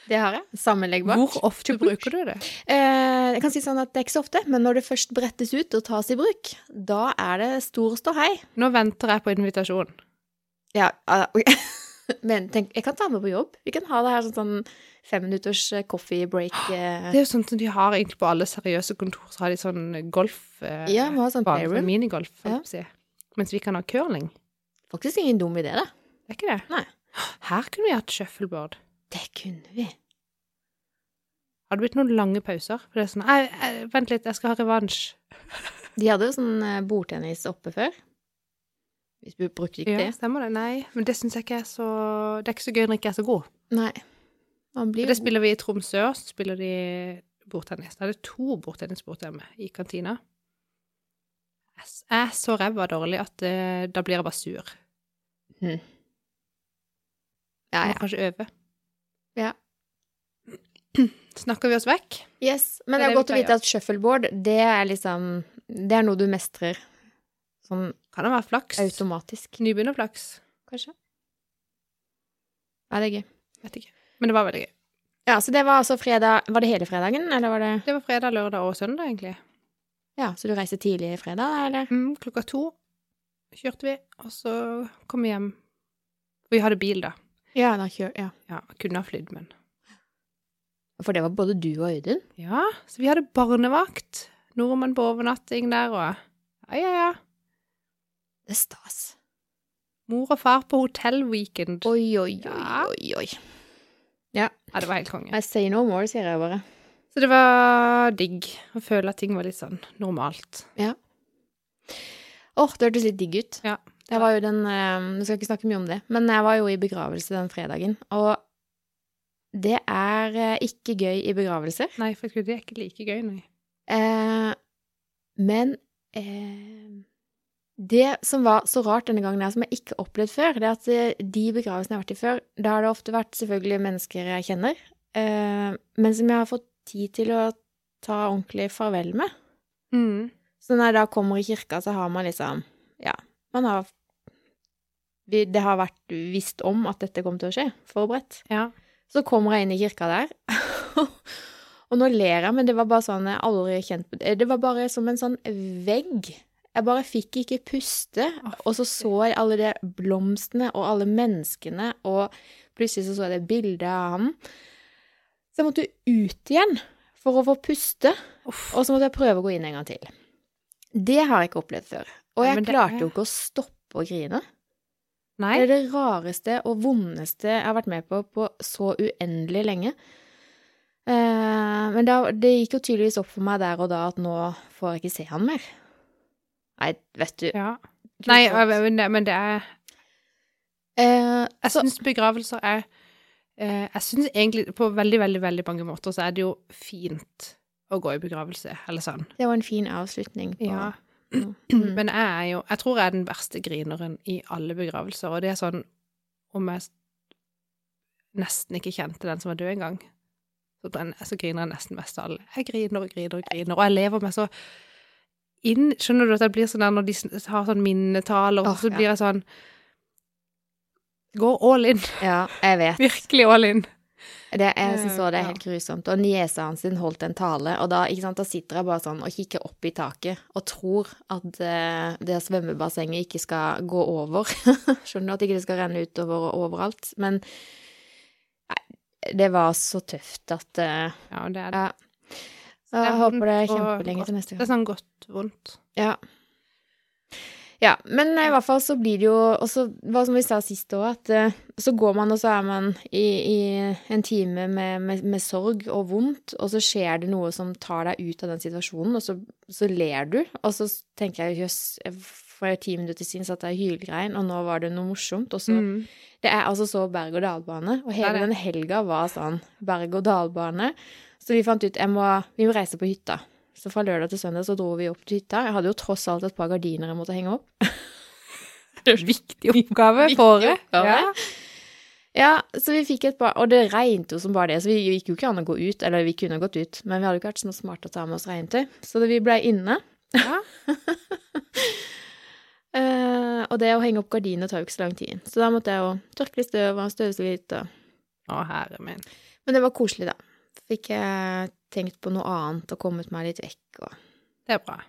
Speaker 2: det har jeg. Sammenleggbart.
Speaker 1: Hvor ofte bruker du det?
Speaker 2: Eh, jeg kan si sånn at det er ikke så ofte, men når det først brettes ut og tas i bruk, da er det stor ståhei.
Speaker 1: Nå venter jeg på invitasjon.
Speaker 2: Ja, ah, ok. Men tenk, jeg kan ta med på jobb. Vi kan ha det her sånn, sånn femminutters eh, coffee break. eh.
Speaker 1: Det er jo sånt som de har egentlig på alle seriøse kontor, så har de sånn golf eh,
Speaker 2: Ja, vi har sånn
Speaker 1: bane, sånn
Speaker 2: playroom.
Speaker 1: minigolf, får
Speaker 2: Ja.
Speaker 1: jeg si. Mens vi kan ha curling.
Speaker 2: Faktisk ingen dum idé, da.
Speaker 1: Det er ikke det?
Speaker 2: Nei.
Speaker 1: Her kunne vi hatt shuffleboard.
Speaker 2: Det kunne vi.
Speaker 1: Har det blitt noen lange pauser? For det er sånn «Ei, ei, Vent litt, jeg skal ha revansj.
Speaker 2: De hadde jo sånn eh, bordtennis oppe før. Hvis vi brukte ikke
Speaker 1: Ja, stemmer det. Nei, men det syns jeg ikke er så Det er ikke så gøy når jeg ikke er så god.
Speaker 2: det. Nei. Man
Speaker 1: For
Speaker 2: blir
Speaker 1: det spiller vi i Tromsø, og så spiller de bordtennis. Da er det to bordtennisbord hjemme i kantina. Jeg s- Jeg er så ræva dårlig at eh, da blir jeg bare sur.
Speaker 2: Ja,
Speaker 1: Må
Speaker 2: Hm. ja.
Speaker 1: kanskje øve.
Speaker 2: Ja.
Speaker 1: Snakker vi oss vekk?
Speaker 2: Yes. Men
Speaker 1: Det er
Speaker 2: det er
Speaker 1: det vi
Speaker 2: godt å vite
Speaker 1: pleier.
Speaker 2: at shuffleboard, det er liksom Det er noe du mestrer. Sånn
Speaker 1: Kan det være flaks?
Speaker 2: automatisk,
Speaker 1: Nybegynnerflaks?
Speaker 2: kanskje. Ja, det er gøy.
Speaker 1: Vet ikke. Men det var veldig gøy.
Speaker 2: Ja, så det var altså fredag Var det hele fredagen, eller var det
Speaker 1: Det var fredag, lørdag og søndag, egentlig.
Speaker 2: Ja, så du reiste tidlig fredag, eller?
Speaker 1: Mm, klokka to kjørte vi, og så kom vi hjem. Vi hadde bil, da.
Speaker 2: Ja, da kjør, ja.
Speaker 1: Ja, kunne ha flydd, men
Speaker 2: For det var både du og Øyden?
Speaker 1: Ja, så vi hadde barnevakt. Nordmenn på overnatting der og Ja, ja, ja.
Speaker 2: Det er stas.
Speaker 1: Mor og far på hotellweekend.
Speaker 2: Oi, oi, oi,
Speaker 1: Ja.
Speaker 2: oi, oi.
Speaker 1: Ja, det var helt konge.
Speaker 2: I say no more, sier jeg bare.
Speaker 1: Så det var digg å føle at ting var litt sånn normalt.
Speaker 2: Åh, det hørtes litt digg ut.
Speaker 1: Ja.
Speaker 2: Jeg var jo den eh, Vi skal ikke snakke mye om det, men jeg var jo i begravelse den fredagen, og det er eh, ikke gøy i begravelser.
Speaker 1: Nei, for gud, det er ikke like gøy, nei.
Speaker 2: Eh, men eh, det som var så rart denne gangen, her, som jeg ikke har opplevd før, det er at eh, de begravelsene jeg har vært i før, da har det ofte vært selvfølgelig mennesker jeg kjenner, eh, men som jeg har fått tid til å ta ordentlig farvel med.
Speaker 1: Mm.
Speaker 2: Så når jeg da kommer i kirka, så har man liksom Ja, man har vi, Det har vært visst om at dette kom til å skje. Forberedt.
Speaker 1: Ja.
Speaker 2: Så kommer jeg inn i kirka der, og nå ler jeg, men det var bare sånn jeg aldri kjent på eh, Det var bare som en sånn vegg. Jeg bare fikk ikke puste,
Speaker 1: Å,
Speaker 2: og så så jeg alle de blomstene og alle menneskene, og plutselig så så jeg det bildet av han. Så jeg måtte ut igjen for å få puste,
Speaker 1: Uff.
Speaker 2: og så måtte jeg prøve å gå inn en gang til. Det har jeg ikke opplevd før. Og
Speaker 1: Nei,
Speaker 2: jeg
Speaker 1: men det
Speaker 2: klarte
Speaker 1: er-
Speaker 2: jo ikke å stoppe å grine.
Speaker 1: Nei.
Speaker 2: Det er det rareste og vondeste jeg har vært med på på så uendelig lenge. Eh, men da, det gikk jo tydeligvis opp for meg der og da at nå får jeg ikke se han mer. Nei, vet du
Speaker 1: Ja.
Speaker 2: ikke
Speaker 1: Nei,
Speaker 2: sant?
Speaker 1: men det, men det er
Speaker 2: Eh,
Speaker 1: Jeg
Speaker 2: Så-
Speaker 1: syns begravelser er eh, Jeg syns egentlig på veldig, veldig, veldig mange måter så er det jo fint å gå i begravelse, eller sånn.
Speaker 2: Det var en fin avslutning. På.
Speaker 1: Ja.
Speaker 2: Mm.
Speaker 1: Men jeg er jo Jeg tror jeg er den verste grineren i alle begravelser, og det er sånn om jeg s- nesten ikke kjente den som var død engang. Så, den, så griner jeg nesten mest av alle. Jeg griner og griner og griner, og jeg lever meg så inn Skjønner du at jeg blir sånn der når de sn- har sånn minnetaler, og
Speaker 2: Åh,
Speaker 1: så
Speaker 2: ja.
Speaker 1: blir jeg sånn Går all in.
Speaker 2: ja, jeg vet.
Speaker 1: Virkelig all in.
Speaker 2: Det, jeg syns også det er
Speaker 1: Ja.
Speaker 2: helt grusomt. Og niesa hans sin holdt en tale, og da, ikke sant, da sitter jeg bare sånn og kikker opp i taket og tror at eh, det svømmebassenget ikke skal gå over. Skjønner du at ikke det skal renne utover og overalt? Men nei, det var så tøft at eh,
Speaker 1: Ja, det er det.
Speaker 2: Ja.
Speaker 1: Så det er
Speaker 2: Jeg håper det er
Speaker 1: vondt og
Speaker 2: kjempelenge til neste
Speaker 1: Det
Speaker 2: gang.
Speaker 1: er sånn godt vondt.
Speaker 2: Ja. Ja, men i hvert fall så blir det jo også, hva som vi sa sist òg, at eh, så går man og så er man i, i en time med, med, med sorg og vondt, og så skjer det noe som tar deg ut av den situasjonen, og så, så ler du, og så tenker jeg jøss, for ti minutter siden satt jeg i hylgrein, og nå var det noe morsomt, og så
Speaker 1: Mm.
Speaker 2: det er altså så berg-og-dal-bane, og
Speaker 1: Det er
Speaker 2: hele
Speaker 1: det.
Speaker 2: den helga var sånn berg-og-dal-bane. Så vi fant ut jeg må, vi må reise på hytta. Så fra lørdag til søndag så dro vi opp til hytta. Jeg hadde jo tross alt et par gardiner jeg måtte henge opp.
Speaker 1: Viktig oppgave på året.
Speaker 2: oppgave.
Speaker 1: Ja.
Speaker 2: Ja, så vi fikk et par Og det regnet jo som bare det, så vi gikk jo ikke an å gå ut. Eller vi kunne gått ut, men vi hadde ikke vært så smarte å ta med oss regntøy. Så det, vi ble inne.
Speaker 1: Ja.
Speaker 2: Eh, og det å henge opp gardiner tar jo ikke så lang tid. Så da måtte jeg jo tørke litt støv og støvsuge litt. Og...
Speaker 1: Å, herre min.
Speaker 2: Men det var koselig, da. Fikk jeg tenkt på noe annet og kommet meg litt vekk. Og,
Speaker 1: Det er bra.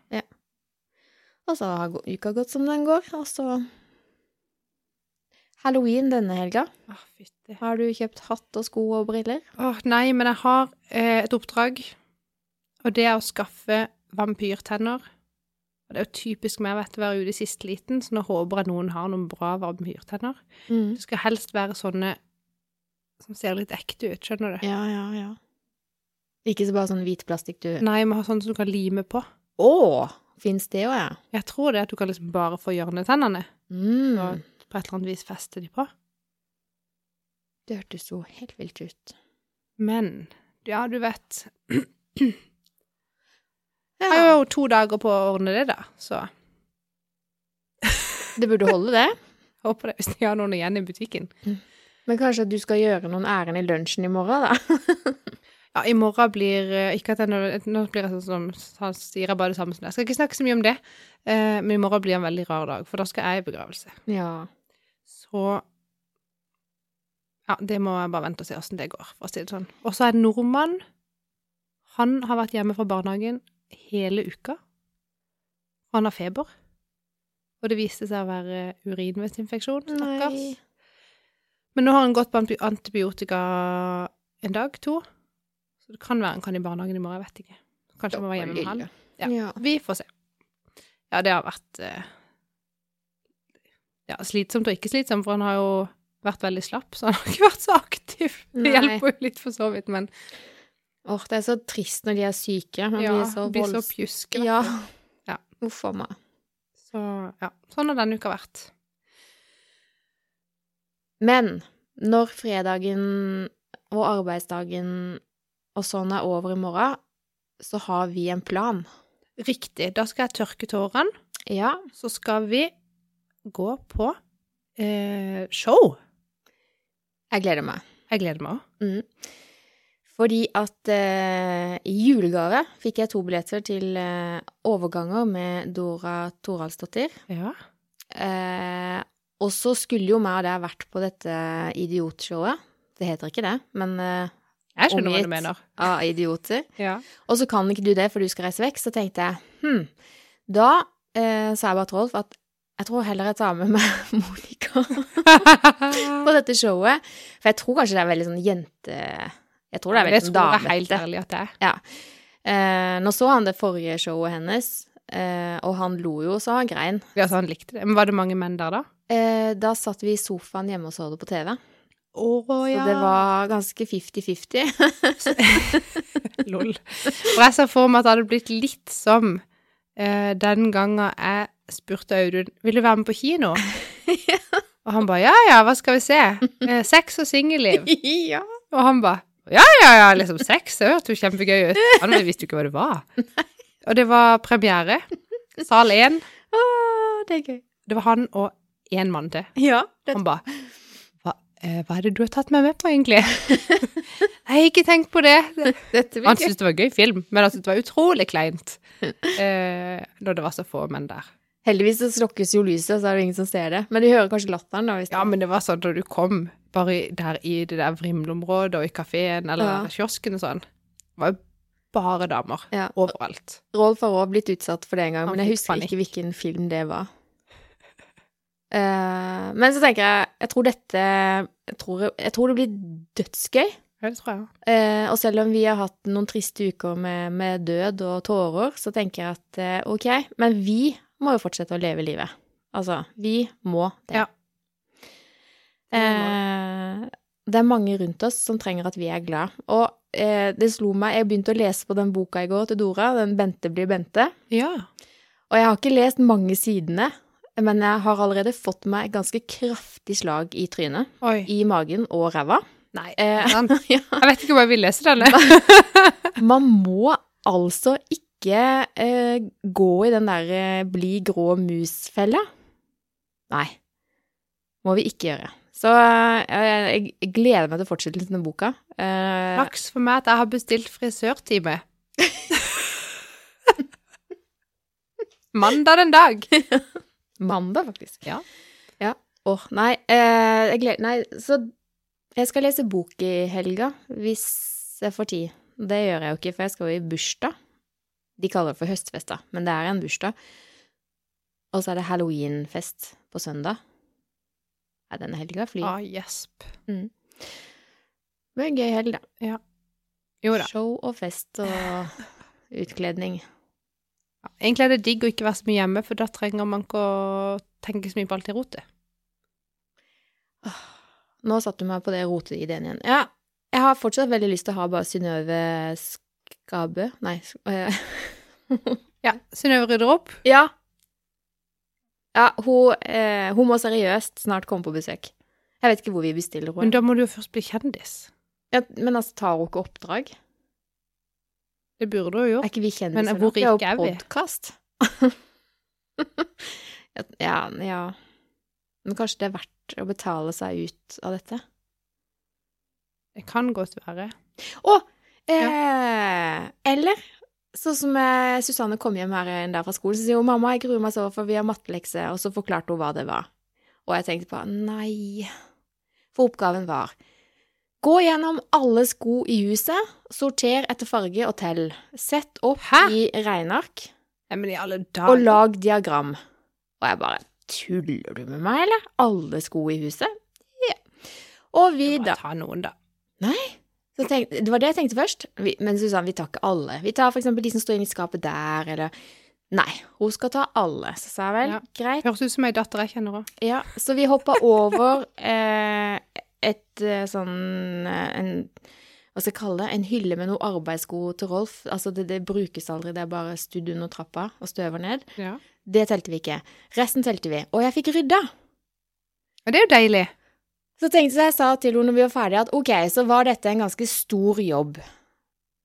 Speaker 2: og så har gå- uka gått som den går. Og så Halloween denne helga.
Speaker 1: Å, fytti.
Speaker 2: Har du kjøpt hatt og sko og briller?
Speaker 1: Å, nei, men jeg har eh, et oppdrag, og det er å skaffe vampyrtenner. Og det er jo typisk meg, vet du, å være ute i siste liten, så nå håper jeg noen har noen bra vampyrtenner.
Speaker 2: Mm.
Speaker 1: Det skal helst være sånne som ser litt ekte ut, skjønner du?
Speaker 2: Ja, ja, ja. Ikke så bare sånn hvit plastikk du
Speaker 1: Nei, vi har sånne som du kan lime på.
Speaker 2: Å! Fins det òg, ja?
Speaker 1: Jeg tror det at du kan liksom bare få hjørnetennene,
Speaker 2: Mm.
Speaker 1: og på et eller annet vis feste de på.
Speaker 2: Det hørtes jo helt vilt ut.
Speaker 1: Men, ja, du vet, jeg har
Speaker 2: Ja,
Speaker 1: jo to dager på å ordne det da, så
Speaker 2: det burde holde, det.
Speaker 1: jeg håper det, hvis de har noen igjen i butikken.
Speaker 2: Men kanskje at du skal gjøre noen ærend i lunsjen i morgen, da?
Speaker 1: Ja, i morgen blir eh, Ikke at jeg nå, nå blir jeg sånn som han sier jeg bare det samme som deg. Jeg skal ikke snakke så mye om det, eh, men i morgen blir en veldig rar dag, for da skal jeg i begravelse.
Speaker 2: Ja.
Speaker 1: Så Ja, det må jeg bare vente og se åssen det går, for å si det sånn. Og så er det nordmann. Han har vært hjemme fra barnehagen hele uka. Han har feber. Og det viste seg å være urinveisinfeksjon. Stakkars.
Speaker 2: Nei.
Speaker 1: Men nå har han gått på antibi- antibiotika en dag, to. Så det kan være han kan i barnehagen i morgen, jeg vet ikke. Kanskje han må være hjemme med han. Ja.
Speaker 2: Ja. ja.
Speaker 1: Vi får se. Ja, det har vært eh, ja, slitsomt og ikke slitsomt, for han har jo vært veldig slapp, så han har ikke vært så aktiv. Det
Speaker 2: Nei.
Speaker 1: hjelper jo litt for så vidt, men
Speaker 2: Åh, det er så trist når de er syke. Man
Speaker 1: ja,
Speaker 2: blir så
Speaker 1: blir så
Speaker 2: volds-
Speaker 1: pjuskete.
Speaker 2: Ja.
Speaker 1: Ja.
Speaker 2: Uff a meg.
Speaker 1: Så ja, sånn har denne uka vært.
Speaker 2: Men når fredagen og arbeidsdagen og sånn er over i morgen, så har vi en plan.
Speaker 1: Riktig. Da skal jeg tørke tårene,
Speaker 2: Ja.
Speaker 1: så skal vi gå på eh, show.
Speaker 2: Jeg gleder meg.
Speaker 1: Jeg gleder meg òg.
Speaker 2: Mm. Fordi at eh, i julegave fikk jeg to billetter til eh, overganger med Dora Toralsdottir.
Speaker 1: Ja.
Speaker 2: Eh, og så skulle jo meg og deg vært på dette idiotshowet. Det heter ikke det, men eh,
Speaker 1: Jeg skjønner hva
Speaker 2: Omgitt.
Speaker 1: du mener.
Speaker 2: av idioter.
Speaker 1: Ja.
Speaker 2: Og så kan ikke du det, for du skal reise vekk. Så tenkte jeg hm. Da eh, sa jeg bare til Rolf at jeg tror heller jeg tar med meg Monica på dette showet. For jeg tror kanskje det er veldig sånn jente... Jeg tror det er veldig sånn
Speaker 1: tror jeg helt
Speaker 2: damete.
Speaker 1: ærlig at det er.
Speaker 2: Eh, nå så han det forrige showet hennes, eh, og han lo jo, så han grein.
Speaker 1: Ja, så han likte det. Men var det mange menn der, da?
Speaker 2: Eh, da satt vi i sofaen hjemme og så det på TV.
Speaker 1: Å
Speaker 2: Så det var ganske fifty-fifty.
Speaker 1: Lol. For jeg ser for meg at det hadde blitt litt som eh, den gangen jeg spurte Audun vil du være med på kino. Og han ba ja ja, hva skal vi se? Eh, sex og singelliv.
Speaker 2: ja.
Speaker 1: Og han ba ja ja ja, liksom sex, det hørtes jo kjempegøy ut. Han visste jo ikke hva det var. Og det var premiere. Sal 1.
Speaker 2: Åh, det er gøy.
Speaker 1: Det var han og én mann til.
Speaker 2: Ja. Det,
Speaker 1: Han ba hva, eh, hva er det du har tatt meg med på, egentlig? Jeg har ikke tenkt på det.
Speaker 2: dette
Speaker 1: Han
Speaker 2: blir gøy.
Speaker 1: syntes det var en gøy film, men han syntes det var utrolig kleint eh, når det var så få menn der.
Speaker 2: Heldigvis så slokkes jo lyset, så er det jo ingen som ser det. Men de hører kanskje latteren, da. Hvis
Speaker 1: Ja, men det var sånn da du kom bare i- der i det der vrimleområdet og i kafeen eller
Speaker 2: Ja.
Speaker 1: kiosken og sånn. Det var jo bare damer
Speaker 2: Ja.
Speaker 1: overalt.
Speaker 2: Rolf har òg blitt utsatt for det en gang,
Speaker 1: Han
Speaker 2: men jeg
Speaker 1: fikk
Speaker 2: husker
Speaker 1: panikk.
Speaker 2: ikke hvilken film det var. Eh, men så tenker jeg Jeg tror dette Jeg tror, jeg tror det blir dødsgøy.
Speaker 1: Ja, det tror jeg.
Speaker 2: Eh, og selv om vi har hatt noen triste uker med, med død og tårer, så tenker jeg at eh, ok, men vi må jo fortsette å leve livet. Altså, vi må det.
Speaker 1: Ja.
Speaker 2: Eh, det er mange rundt oss som trenger at vi er glad. Og eh, det slo meg, jeg begynte å lese på den boka i går til Dora, den Bente blir Bente.
Speaker 1: Ja.
Speaker 2: Og jeg har ikke lest mange sidene, men jeg har allerede fått meg et ganske kraftig slag i trynet,
Speaker 1: Oi.
Speaker 2: i magen og ræva.
Speaker 1: Nei.
Speaker 2: Eh,
Speaker 1: sant.
Speaker 2: ja.
Speaker 1: Jeg vet ikke om jeg vil lese denne.
Speaker 2: Man må altså ikke eh, gå i den der eh, bli grå mus-fella. Nei, Må vi ikke gjøre. Så eh, jeg, jeg gleder meg til fortsettelsen av boka. Eh,
Speaker 1: Flaks for meg at jeg har bestilt frisørtime. Mandag den dag.
Speaker 2: Mandag, faktisk.
Speaker 1: Ja.
Speaker 2: Ja. Åh, nei, eh, jeg gleder Nei, så jeg skal lese bok i helga, hvis jeg får tid. Det gjør jeg jo ikke, for jeg skal jo i bursdag. De kaller det for høstfest, da, men det er en bursdag. Og så er det halloweenfest på søndag. Nei, denne helga flyr.
Speaker 1: Ah, gjesp.
Speaker 2: Det blir en gøy helg, da.
Speaker 1: Jo da.
Speaker 2: Show og fest og utkledning.
Speaker 1: Egentlig er det digg å ikke være så mye hjemme, for da trenger man ikke å tenke så mye på alt i rotet.
Speaker 2: Nå satte du meg på det roteideen igjen. Ja, jeg har fortsatt veldig lyst til å ha bare Synnøve Skabø Nei sk- eh,
Speaker 1: Ja, Synnøve rydder opp.
Speaker 2: Ja. Ja, hun, eh, hun må seriøst snart komme på besøk. Jeg vet ikke hvor vi bestiller
Speaker 1: Men
Speaker 2: henne.
Speaker 1: da må du jo først bli kjendis.
Speaker 2: Ja, men altså, tar hun ikke oppdrag?
Speaker 1: Det burde hun jo
Speaker 2: Er
Speaker 1: gjort.
Speaker 2: ikke vi kjendiser?
Speaker 1: Men hvor
Speaker 2: nå? Det jo
Speaker 1: rike er vi?
Speaker 2: podcast. ja, ja. Men kanskje det er verdt å betale seg ut av dette?
Speaker 1: Det kan godt være.
Speaker 2: Eh, eller sånn som eh, Susanne kom hjem her en dag fra skolen, så sier hun mamma, jeg gruer meg så for vi har mattelekse, og så forklarte hun hva det var. Og jeg tenkte bare nei. For oppgaven var gå gjennom alle sko i huset, sorter etter farge og tell. Sett opp
Speaker 1: Hæ?
Speaker 2: i regneark
Speaker 1: Nei, men i alle
Speaker 2: og
Speaker 1: dager
Speaker 2: lag diagram. Og jeg bare tuller du med meg, eller? Alle sko i huset? Ja. Og vi da
Speaker 1: Bare ta noen, da.
Speaker 2: så tenk, det var det jeg tenkte først. Vi, men Susanne, vi tar ikke alle. Vi tar for eksempel de som står inne i skapet der, eller Nei, hun skal ta alle. Så sa jeg vel,
Speaker 1: Ja.
Speaker 2: greit.
Speaker 1: Høres ut som ei datter jeg kjenner òg.
Speaker 2: Ja, så vi hoppa over eh, et eh, sånn eh, en, Hva skal jeg kalle det? En hylle med noen arbeidssko til Rolf. Altså, det, det brukes aldri, det er bare studd under trappa og støver ned.
Speaker 1: Ja.
Speaker 2: Det telte vi ikke. Resten telte vi. Og jeg fikk rydda.
Speaker 1: Og det er jo deilig.
Speaker 2: Så tenkte jeg, jeg sa til henne når vi var ferdige, at ok, så var dette en ganske stor jobb.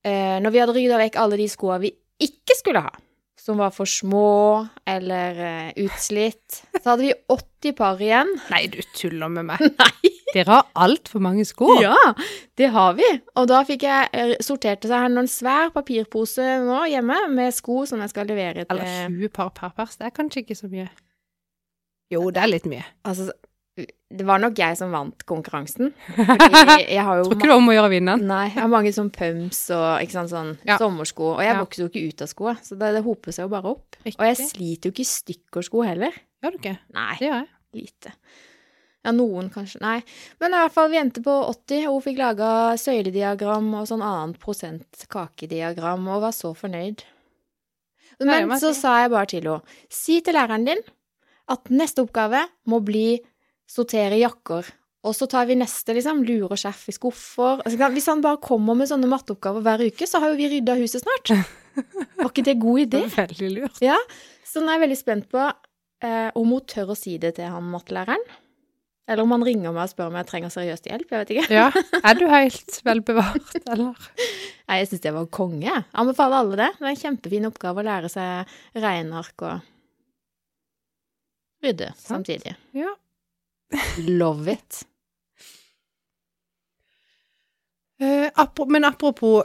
Speaker 2: Eh, når vi hadde rydda vekk alle de skoa vi ikke skulle ha, som var for små eller eh, utslitt, så hadde vi 80 par igjen.
Speaker 1: Nei, du tuller med meg.
Speaker 2: Nei!
Speaker 1: Dere har altfor mange sko.
Speaker 2: Ja, det har vi. Og da fikk jeg eh, sortert seg her en svær papirpose nå hjemme med sko som jeg skal levere til
Speaker 1: Eller 20 par per pers. Det er kanskje ikke så mye. Jo, det er litt mye.
Speaker 2: Altså, det var nok jeg som vant konkurransen. Fordi jeg har jo
Speaker 1: Tror ikke det er om å gjøre å vinne den.
Speaker 2: Nei, jeg har mange sånn pumps og ikke sant, sånn
Speaker 1: Ja.
Speaker 2: sommersko. Og jeg
Speaker 1: Ja.
Speaker 2: vokser jo ikke ut av skoa, så det, det hoper seg jo bare opp. Og jeg
Speaker 1: Riktig.
Speaker 2: sliter jo ikke i stykker sko heller.
Speaker 1: Gjør du ikke?
Speaker 2: Nei,
Speaker 1: Det gjør jeg.
Speaker 2: lite. Ja, noen kanskje. Nei. Men i hvert fall, vi endte på 80, og hun fikk laga søylediagram og sånn annet prosent kakediagram, og var så fornøyd.
Speaker 1: Nei, det
Speaker 2: Men
Speaker 1: må jeg
Speaker 2: så
Speaker 1: si.
Speaker 2: sa jeg bare til henne, si til læreren din at neste oppgave må bli sortere jakker. Og så tar vi neste, liksom. Lure skjerf i skuffer. Altså, kan- hvis han bare kommer med sånne matteoppgaver hver uke, så har jo vi rydda huset snart. Var ikke det god idé?
Speaker 1: Det er veldig lurt.
Speaker 2: Så nå er jeg veldig spent på eh, om hun tør å si det til han mattelæreren. Eller om han ringer meg og spør om jeg trenger seriøst hjelp. Jeg vet ikke.
Speaker 1: Ja. Er du helt velbevart, eller?
Speaker 2: Nei, jeg syns det var konge. jeg. Anbefaler alle det. Det er en kjempefin oppgave å lære seg regneark og rydde
Speaker 1: Sant.
Speaker 2: samtidig.
Speaker 1: Ja.
Speaker 2: Love it.
Speaker 1: Eh, apro men apropos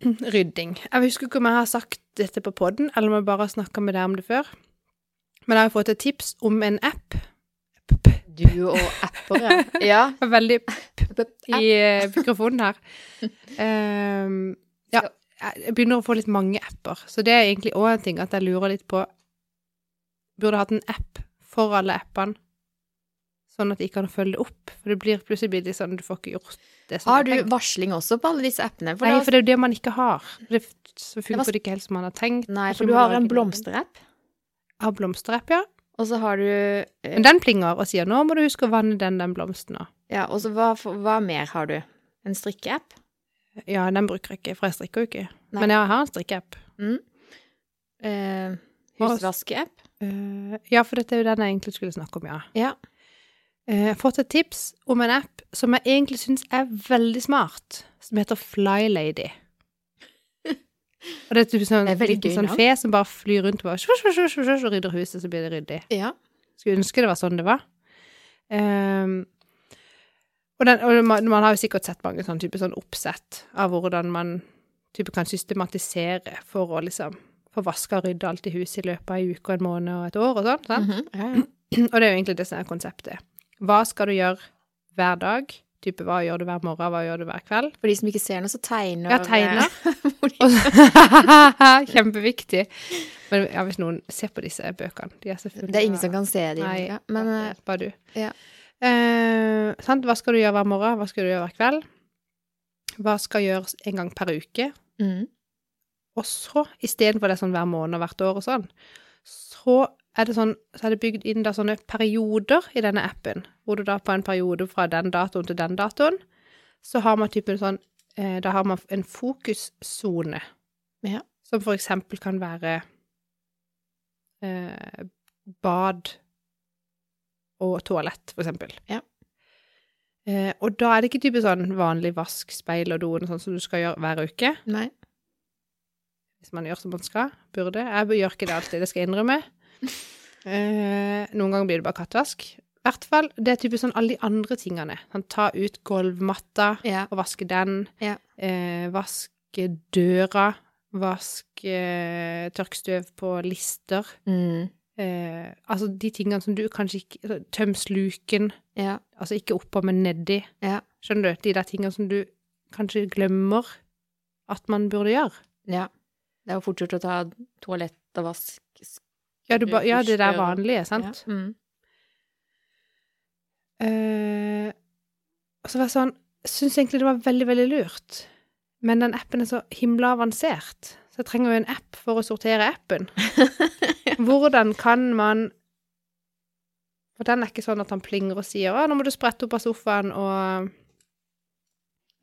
Speaker 1: rydding. Jeg husker ikke om jeg har sagt dette på poden, eller om jeg bare har snakka med deg om det før. Men jeg har jo fått et tips om en app.
Speaker 2: Du og appere. Ja.
Speaker 1: Det var Veldig
Speaker 2: App.
Speaker 1: i eh, mikrofonen her. Ehm, ja, jeg begynner å få litt mange apper, så det er egentlig òg en ting at jeg lurer litt på Burde jeg hatt en app for alle appene, sånn at jeg kan følge det opp? For det blir plutselig blir det litt sånn du får ikke gjort det som
Speaker 2: Har du
Speaker 1: jeg tenkte.
Speaker 2: varsling også på alle disse appene? For
Speaker 1: Nei,
Speaker 2: da-
Speaker 1: for det er jo det man ikke har. Det, så
Speaker 2: var-
Speaker 1: funker det ikke helt som man har tenkt.
Speaker 2: Nei,
Speaker 1: og så
Speaker 2: for
Speaker 1: må
Speaker 2: du har
Speaker 1: lage
Speaker 2: en
Speaker 1: din egen.
Speaker 2: blomsterapp,
Speaker 1: Jeg har blomsterapp, ja.
Speaker 2: og så har du eh,
Speaker 1: Men den plinger og sier 'nå må du huske å vanne den, den blomsten' nå.
Speaker 2: Ja, og så hva, hva mer har du? En strikkeapp?
Speaker 1: Ja, den bruker jeg ikke, for jeg strikker jo ikke.
Speaker 2: Nei.
Speaker 1: Men jeg har en strikkeapp.
Speaker 2: Eh,
Speaker 1: Hva-
Speaker 2: husvaskeapp?
Speaker 1: Eh, ja, for dette er jo den jeg egentlig skulle snakke om, ja.
Speaker 2: Ja.
Speaker 1: Eh, Jeg har fått et tips om en app som jeg egentlig syns er veldig smart, som heter Flylady. Og det er typ sånn,
Speaker 2: Det er veldig
Speaker 1: typ
Speaker 2: gøy
Speaker 1: sånn
Speaker 2: navn.
Speaker 1: fe som bare flyr rundt og bare sjo, sjo, sjo, sjo, sjo, sjo, rydder huset, så blir det ryddig.
Speaker 2: Ja.
Speaker 1: Skulle ønske det var sånn det var. Ehm, og, den, og man, man har jo sikkert sett mange sånne type sånn oppsett av hvordan man type kan systematisere for å liksom få vaska og rydda alt i huset i løpet av ei uke og en måned og et år og sånn. sant?
Speaker 2: Mhm, ja, ja.
Speaker 1: Og det er jo egentlig det som er konseptet. Hva skal du gjøre hver dag? Type hva gjør du hver morgen, hva gjør du hver kveld?
Speaker 2: For de som ikke ser noe, så tegner
Speaker 1: Ja, tegner.
Speaker 2: Hvor de-
Speaker 1: Og så- Kjempeviktig. Men ja, hvis noen ser på disse bøkene De er så fulle
Speaker 2: Det er ingen
Speaker 1: av-
Speaker 2: som kan se dem.
Speaker 1: Nei,
Speaker 2: ja. Men eh,
Speaker 1: Bare du.
Speaker 2: ja.
Speaker 1: Eh, sant? Hva skal du gjøre hver morgen? Hva skal du gjøre hver kveld? Hva skal gjøres en gang per uke?
Speaker 2: mm,
Speaker 1: Og så, istedenfor det sånn hver måned og hvert år og sånn, så er det sånn Så er det bygd inn da sånne perioder i denne appen, hvor du da på en periode fra den datoen til den datoen, så har man typen sånn eh, Da har man en fokussone.
Speaker 2: Ja.
Speaker 1: Som for eksempel kan være eh, bad og toalett, for eksempel.
Speaker 2: Ja.
Speaker 1: Eh, og da er det ikke type sånn vanlig vask, speil og doen og sånn som du skal gjøre hver uke
Speaker 2: nei.
Speaker 1: hvis man gjør som man skal, burde. Jeg gjør ikke det alltid, det skal jeg innrømme. Eh, noen ganger blir det bare kattevask. I hvert fall, det er typisk sånn alle de andre tingene. Sånn, ta ut gulvmatta
Speaker 2: Ja.
Speaker 1: og vaske den.
Speaker 2: Ja.
Speaker 1: Eh, vaske døra. Vask eh, tørkstøv på lister.
Speaker 2: Mm,
Speaker 1: Eh, altså de tingene som du kanskje ikke Tøm sluken.
Speaker 2: ja.
Speaker 1: Altså ikke oppå, men nedi.
Speaker 2: Ja.
Speaker 1: Skjønner du? De der tingene som du kanskje glemmer at man burde gjøre.
Speaker 2: ja. Det er jo fort gjort å ta toalett og vask.
Speaker 1: Ja, du ba, ja det der
Speaker 2: Dusjer.
Speaker 1: vanlige, sant?
Speaker 2: Ja. Mm.
Speaker 1: Eh, og så var jeg sånn Syns egentlig det var veldig, veldig lurt. Men den appen er så himla avansert, så jeg trenger jo en app for å sortere appen. Hvordan kan man For den er ikke sånn at han plinger og sier 'Å, nå må du sprette opp av sofaen og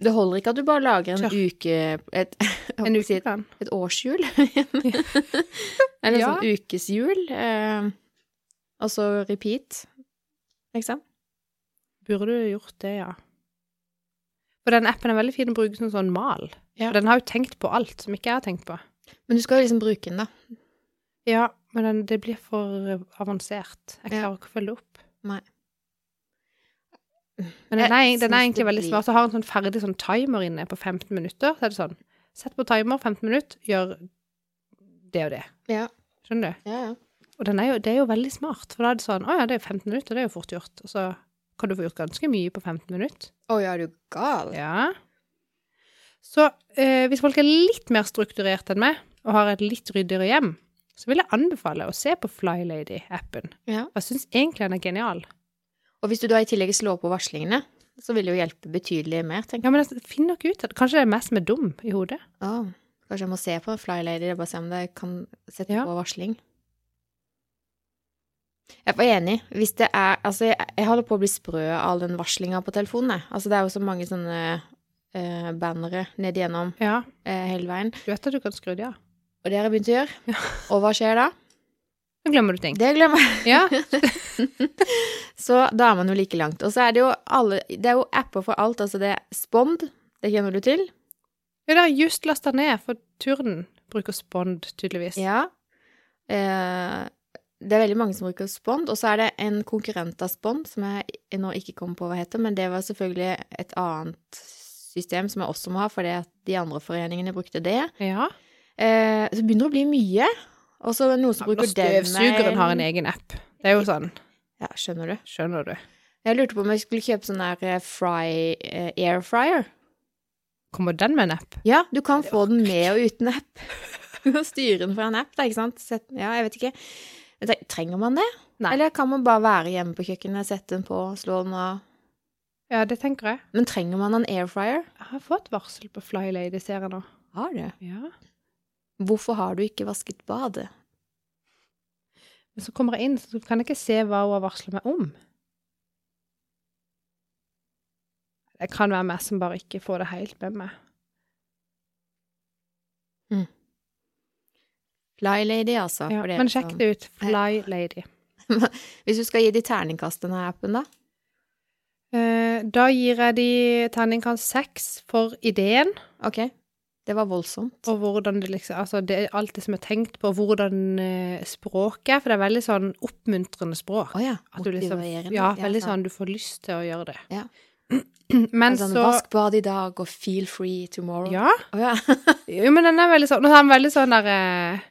Speaker 2: Det holder ikke at du bare lager en
Speaker 1: Tørr.
Speaker 2: uke et,
Speaker 1: En uke
Speaker 2: jeg holdt på å si et,
Speaker 1: kan.
Speaker 2: et årshjul. Eller
Speaker 1: Ja.
Speaker 2: sånn ukeshjul. Eh, og så repeat. Ikke sant?
Speaker 1: Burde du gjort det, ja. For den appen er veldig fin å bruke som sånn mal.
Speaker 2: Ja.
Speaker 1: For den har jo tenkt på alt som ikke jeg har tenkt på.
Speaker 2: Men du skal jo liksom bruke den, da.
Speaker 1: Ja, men den, det blir for eh, avansert. Jeg
Speaker 2: Ja.
Speaker 1: klarer ikke å følge opp.
Speaker 2: Nei.
Speaker 1: Men den er, den er
Speaker 2: Jeg synes det
Speaker 1: egentlig veldig
Speaker 2: blir-
Speaker 1: smart. Jeg har en sånn ferdig sånn timer inne på 15 minutter. Så er det sånn Sett på timer 15 minutter, gjør det og det.
Speaker 2: Ja.
Speaker 1: Skjønner du?
Speaker 2: ja, ja.
Speaker 1: Og den er jo, det er jo veldig smart, for da er det sånn Å ja, det er 15 minutter, det er jo fort gjort. Og så kan du få gjort ganske mye på 15 minutter.
Speaker 2: Å, ja, er du gal?
Speaker 1: Ja. Så eh, hvis folk er litt mer strukturert enn meg, og har et litt ryddigere hjem, så vil jeg anbefale å se på Flylady-appen.
Speaker 2: Ja.
Speaker 1: Jeg syns egentlig den er genial.
Speaker 2: Og hvis du da i tillegg slår på varslingene, så vil det jo hjelpe betydelig mer, tenker jeg.
Speaker 1: Ja, men jeg finner nok ut at Kanskje det er mest med dum i hodet.
Speaker 2: Å, kanskje jeg må se på Flylady, bare se om det kan sette
Speaker 1: Ja.
Speaker 2: på varsling. Jeg var enig. Hvis det er Altså, jeg, jeg holder på å bli sprø av all den varslinga på telefonen, jeg. Altså, det er jo så mange sånne eh, bannere ned igjennom
Speaker 1: Ja,
Speaker 2: eh, hele veien.
Speaker 1: du vet at du kan skru det av.
Speaker 2: Og det har jeg begynt å gjøre. Og hva skjer da?
Speaker 1: Nå glemmer du ting.
Speaker 2: Det glemmer jeg.
Speaker 1: Ja,
Speaker 2: Så da er man jo like langt. Og så er det jo alle Det er jo apper for alt. Altså, det er Spond, det kjenner du til.
Speaker 1: det har jeg just lasta ned, for Turden bruker Spond, tydeligvis.
Speaker 2: Ja. Eh, det er veldig mange som bruker Spond, og så er det en konkurrent av Spond, som jeg nå ikke kommer på hva heter, men det var selvfølgelig et annet system som jeg også må ha, fordi at de andre foreningene brukte det.
Speaker 1: Ja.
Speaker 2: Eh, så begynner det å bli mye, og så er det noen som
Speaker 1: Og
Speaker 2: bruker den.
Speaker 1: støvsugeren har en egen app. Det er jo sånn,
Speaker 2: Ja, skjønner du.
Speaker 1: skjønner du.
Speaker 2: Jeg lurte på om jeg skulle kjøpe sånn der eh, fry, eh, air fryer.
Speaker 1: Kommer den med en app?
Speaker 2: Ja, du kan få den med og uten app. Du kan styre den fra en app, da, ikke sant? Sett, ja, jeg vet ikke. Jeg tenker, Trenger man det?
Speaker 1: Nei.
Speaker 2: Eller kan man bare være hjemme på kjøkkenet, sette den på, slå den av?
Speaker 1: Ja, det tenker jeg.
Speaker 2: Men trenger man en air fryer?
Speaker 1: Jeg har fått varsel på Flylady-serien nå.
Speaker 2: Har du?
Speaker 1: Ja.
Speaker 2: Hvorfor har du ikke vasket badet?
Speaker 1: Men så kommer jeg inn, så kan jeg ikke se hva hun har varsla meg om. Det kan være meg som bare ikke får det helt med meg.
Speaker 2: Fly lady, altså.
Speaker 1: Ja,
Speaker 2: for det er
Speaker 1: men
Speaker 2: sånn-
Speaker 1: sjekk det ut. Flylady.
Speaker 2: Hvis du skal gi de terningkast denne appen, da?
Speaker 1: Eh, da gir jeg de terningkast seks for ideen,
Speaker 2: Ok. Det var voldsomt.
Speaker 1: Og hvordan det liksom Altså, det er alt det som er tenkt på, hvordan eh, språket er, for det er veldig sånn oppmuntrende språk.
Speaker 2: Å ja.
Speaker 1: At du liksom
Speaker 2: Motiverende.
Speaker 1: Ja, veldig sånn
Speaker 2: sant.
Speaker 1: du får lyst til å gjøre det.
Speaker 2: Ja.
Speaker 1: Men
Speaker 2: sånn,
Speaker 1: så
Speaker 2: Vask badet i dag, og feel free tomorrow.
Speaker 1: Ja.
Speaker 2: Å ja.
Speaker 1: Jo, men den er veldig sånn Og så er den veldig sånn der eh,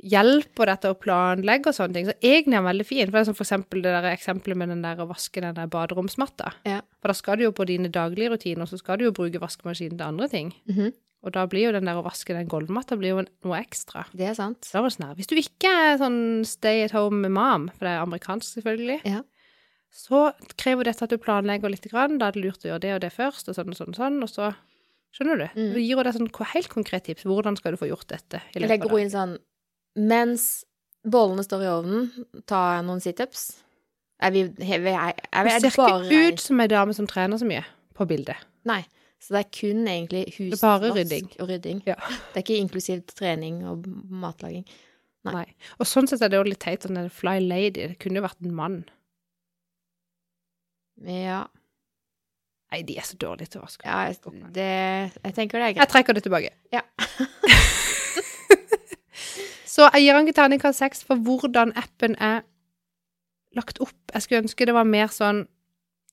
Speaker 1: Hjelp og dette å planlegge og sånne ting. Så egentlig er den veldig fin. For det er sånn for eksempel det der eksempelet med den der å vaske den der baderomsmatta.
Speaker 2: Ja.
Speaker 1: For da skal du jo på dine daglige rutiner, så skal du jo bruke vaskemaskinen til andre ting.
Speaker 2: Mhm.
Speaker 1: Og da blir jo den der å vaske den gulvmatta blir jo en- noe ekstra.
Speaker 2: Det er sant.
Speaker 1: Så da var det sånn her Hvis du ikke er sånn stay at home mom, for det er amerikansk selvfølgelig,
Speaker 2: Ja.
Speaker 1: så krever dette at du planlegger litt. Grann. Da er det lurt å gjøre det og det først, og sånn og sånn og sånn, og så Skjønner du?
Speaker 2: Mm.
Speaker 1: Vi gir jo deg sånn ko- helt konkret tips. Hvordan skal du få gjort dette? i løpet
Speaker 2: Jeg legger
Speaker 1: av dagen?
Speaker 2: henne inn sånn Mens bollene står i ovnen, ta noen situps. Er vi, er vi, er, er vi er
Speaker 1: Du
Speaker 2: det
Speaker 1: ser
Speaker 2: bare
Speaker 1: ikke ut som ei dame som trener så mye på bildet.
Speaker 2: Nei. Så det er kun egentlig hus,
Speaker 1: Det er bare
Speaker 2: vask
Speaker 1: rydding.
Speaker 2: og rydding.
Speaker 1: Ja.
Speaker 2: Det er ikke inklusivt trening og matlaging. Nei.
Speaker 1: Nei. Og sånn sett er det jo litt teit sånn en fly lady. Det kunne jo vært en mann.
Speaker 2: Ja,
Speaker 1: Nei, de er så dårlige til å vaske.
Speaker 2: ja jeg, det, jeg tenker det er greit.
Speaker 1: Jeg trekker det tilbake.
Speaker 2: Ja.
Speaker 1: så jeg gir han ikke terningkast seks for hvordan appen er lagt opp. Jeg skulle ønske det var mer sånn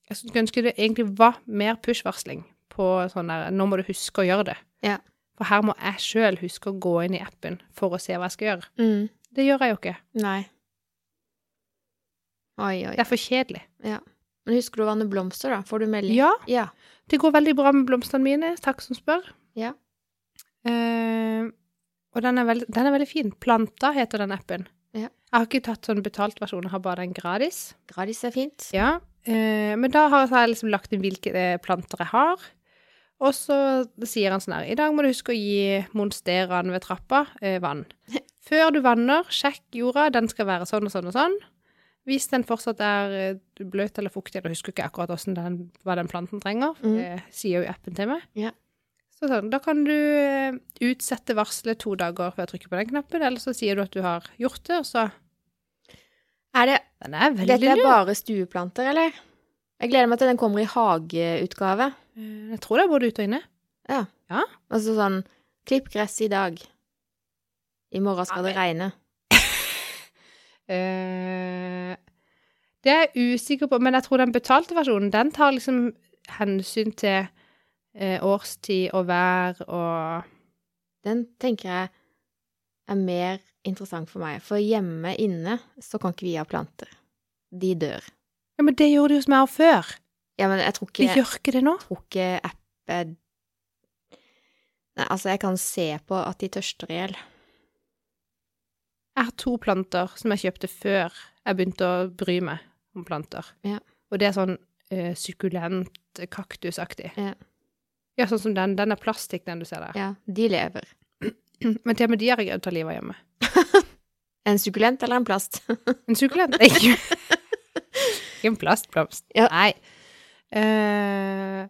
Speaker 1: Jeg skulle ønske det egentlig var mer push-varsling på sånn der Nå må du huske å gjøre det.
Speaker 2: Ja.
Speaker 1: For her må jeg sjøl huske å gå inn i appen for å se hva jeg skal gjøre.
Speaker 2: Mm.
Speaker 1: Det gjør jeg jo ikke.
Speaker 2: Nei. Oi, oi.
Speaker 1: Det er for kjedelig.
Speaker 2: Men husker du å vanne blomster, da? Får du melding?
Speaker 1: Ja,
Speaker 2: Ja.
Speaker 1: det går veldig bra med blomstene mine. Takk som spør.
Speaker 2: Ja.
Speaker 1: Eh, og den er, veld, den er veldig fin. Planta heter den appen.
Speaker 2: Ja.
Speaker 1: Jeg har ikke tatt sånn betalt versjon, jeg har bare den gratis.
Speaker 2: Gradis er fint.
Speaker 1: Ja, eh, men da har så har jeg liksom lagt inn hvilke eh, planter jeg har. Og så sier han sånn her I dag må du huske å gi monsteraen ved trappa eh, vann. Før du vanner, sjekk jorda. Den skal være sånn og sånn og sånn. Hvis den fortsatt er eh, bløt eller fuktig, eller husker ikke akkurat hvordan den, hva den planten trenger, for
Speaker 2: Mm.
Speaker 1: det sier jo appen til meg.
Speaker 2: Ja.
Speaker 1: Så sånn, da kan du eh, utsette varselet to dager før jeg trykker på den knappen, eller så sier du at du har gjort det, og så
Speaker 2: Er det
Speaker 1: Den er veldig
Speaker 2: Dette er
Speaker 1: lur.
Speaker 2: bare stueplanter, eller? Jeg gleder meg til den kommer i hageutgave.
Speaker 1: Eh, Jeg tror det er både ute og inne.
Speaker 2: Altså sånn Klipp gress i dag. I morgen skal det regne.
Speaker 1: Eh, det er jeg usikker på, men jeg tror den betalte versjonen, den tar liksom hensyn til eh, årstid og vær og
Speaker 2: Den tenker jeg er mer interessant for meg. For hjemme inne så kan ikke vi ha planter. De dør.
Speaker 1: Ja, men det gjorde de hos meg også før.
Speaker 2: Ja, men jeg tror
Speaker 1: De
Speaker 2: ikke, jeg
Speaker 1: gjør ikke det nå.
Speaker 2: tror ikke app er- Nei, altså, jeg kan se på at de tørster i hjel.
Speaker 1: Jeg har to planter som jeg kjøpte før jeg begynte å bry meg om planter.
Speaker 2: Ja.
Speaker 1: Og det er sånn eh, sukkulent, kaktusaktig.
Speaker 2: Ja.
Speaker 1: ja, sånn som den. Den er plastikk, den du ser der.
Speaker 2: Ja, de lever.
Speaker 1: Men til og med de har jeg gøy å ta livet av hjemme.
Speaker 2: En sukkulent eller en plast?
Speaker 1: En sukkulent? Nei, ikke Ikke en plastblomst.
Speaker 2: Ja.
Speaker 1: Nei. Eh,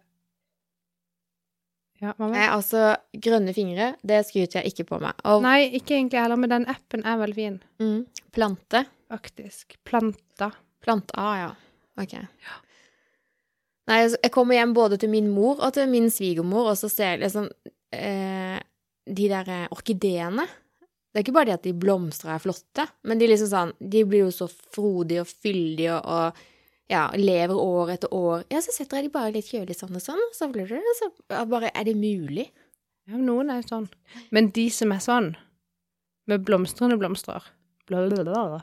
Speaker 1: ja, mamma.
Speaker 2: Nei, altså, grønne fingre, det skryter jeg ikke på meg. Og
Speaker 1: Nei, ikke egentlig heller, men den appen er veldig fin,
Speaker 2: Mm. Plante.
Speaker 1: faktisk. Planta.
Speaker 2: Plante A, ja. Ok. Nei, altså, jeg kommer hjem både til min mor og til min svigermor, og så ser jeg liksom eh, De der eh, orkideene. Det er ikke bare det at de blomstrer og er flotte, men de liksom sånn De blir jo så frodige og fyldige og, og ja, lever år etter år. Ja, så setter jeg de bare litt kjølig sånn og sånn, og så blir det så ja, bare Er det mulig?
Speaker 1: Ja, noen er jo sånn. Men de som er sånn, med blomstrende blomstrer, blablabla,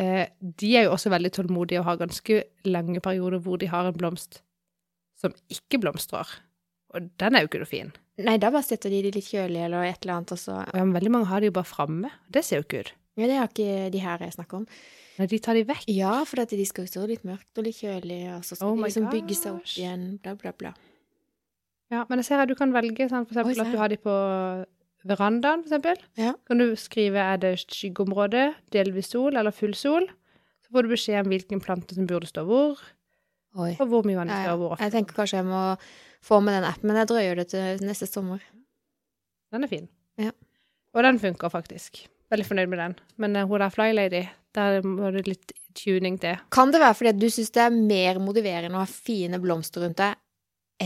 Speaker 1: eh, de er jo også veldig tålmodige og har ganske lange perioder hvor de har en blomst som ikke blomstrer. Og den er jo ikke noe fin.
Speaker 2: Nei, da bare setter de de litt kjølig eller et eller annet, og så
Speaker 1: Ja, men veldig mange har de jo bare framme. Det ser jo ikke ut.
Speaker 2: Ja, det har ikke de her jeg snakker om.
Speaker 1: Nei, de tar de vekk.
Speaker 2: Ja, for at de skal jo stå litt mørkt og litt kjølig, og så skal
Speaker 1: Oh
Speaker 2: de
Speaker 1: my
Speaker 2: liksom bygge seg opp
Speaker 1: gosh.
Speaker 2: igjen, bla, bla, bla.
Speaker 1: Ja, men jeg ser at du kan velge sånn, for
Speaker 2: Oi,
Speaker 1: eksempel
Speaker 2: se
Speaker 1: at
Speaker 2: her.
Speaker 1: du har de på verandaen, for eksempel.
Speaker 2: Ja.
Speaker 1: Kan du skrive er det skyggeområde, delvis sol eller full sol. Så får du beskjed om hvilken plante som burde stå hvor,
Speaker 2: Oi.
Speaker 1: og hvor mye vann
Speaker 2: Ja,
Speaker 1: det
Speaker 2: ja.
Speaker 1: skal og hvor ofte.
Speaker 2: Jeg tenker kanskje jeg må få med den appen, men jeg drøyer det til neste sommer.
Speaker 1: Den er fin.
Speaker 2: Ja.
Speaker 1: Og den funker faktisk. Veldig fornøyd med den. Men eh, hun der flylady, der må det litt tuning til.
Speaker 2: Kan det være fordi at du syns det er mer motiverende å ha fine blomster rundt deg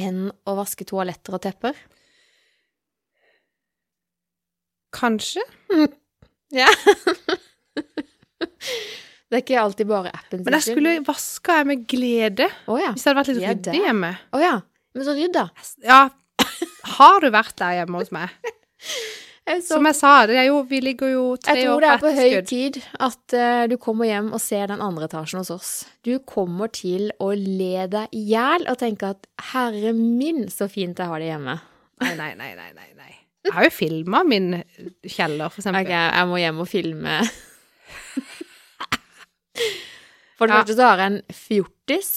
Speaker 2: enn å vaske toaletter og tepper?
Speaker 1: Kanskje.
Speaker 2: Ja. det er ikke alltid bare appen
Speaker 1: Men jeg skulle vaska jeg med glede
Speaker 2: Å ja.
Speaker 1: hvis det hadde vært litt
Speaker 2: Vi er
Speaker 1: ryddig
Speaker 2: der.
Speaker 1: hjemme.
Speaker 2: Å ja. Men så rydd, da.
Speaker 1: Ja, har du vært der hjemme hos meg?
Speaker 2: Jeg så-
Speaker 1: Som jeg sa, det er jo, vi ligger jo tre
Speaker 2: Jeg tror
Speaker 1: år
Speaker 2: det er på
Speaker 1: på
Speaker 2: høy
Speaker 1: etterskudd.
Speaker 2: tid at eh, du kommer hjem og ser den andre etasjen hos oss. Du kommer til å le deg i hjel og tenke at 'herre min, så fint jeg har det hjemme'.
Speaker 1: Nei, nei, nei, nei, nei, nei. Jeg har jo filma min kjeller, for
Speaker 2: Ok,
Speaker 1: eksempel.
Speaker 2: jeg må hjem og filme. For det
Speaker 1: Ja.
Speaker 2: første så har jeg en fjortis.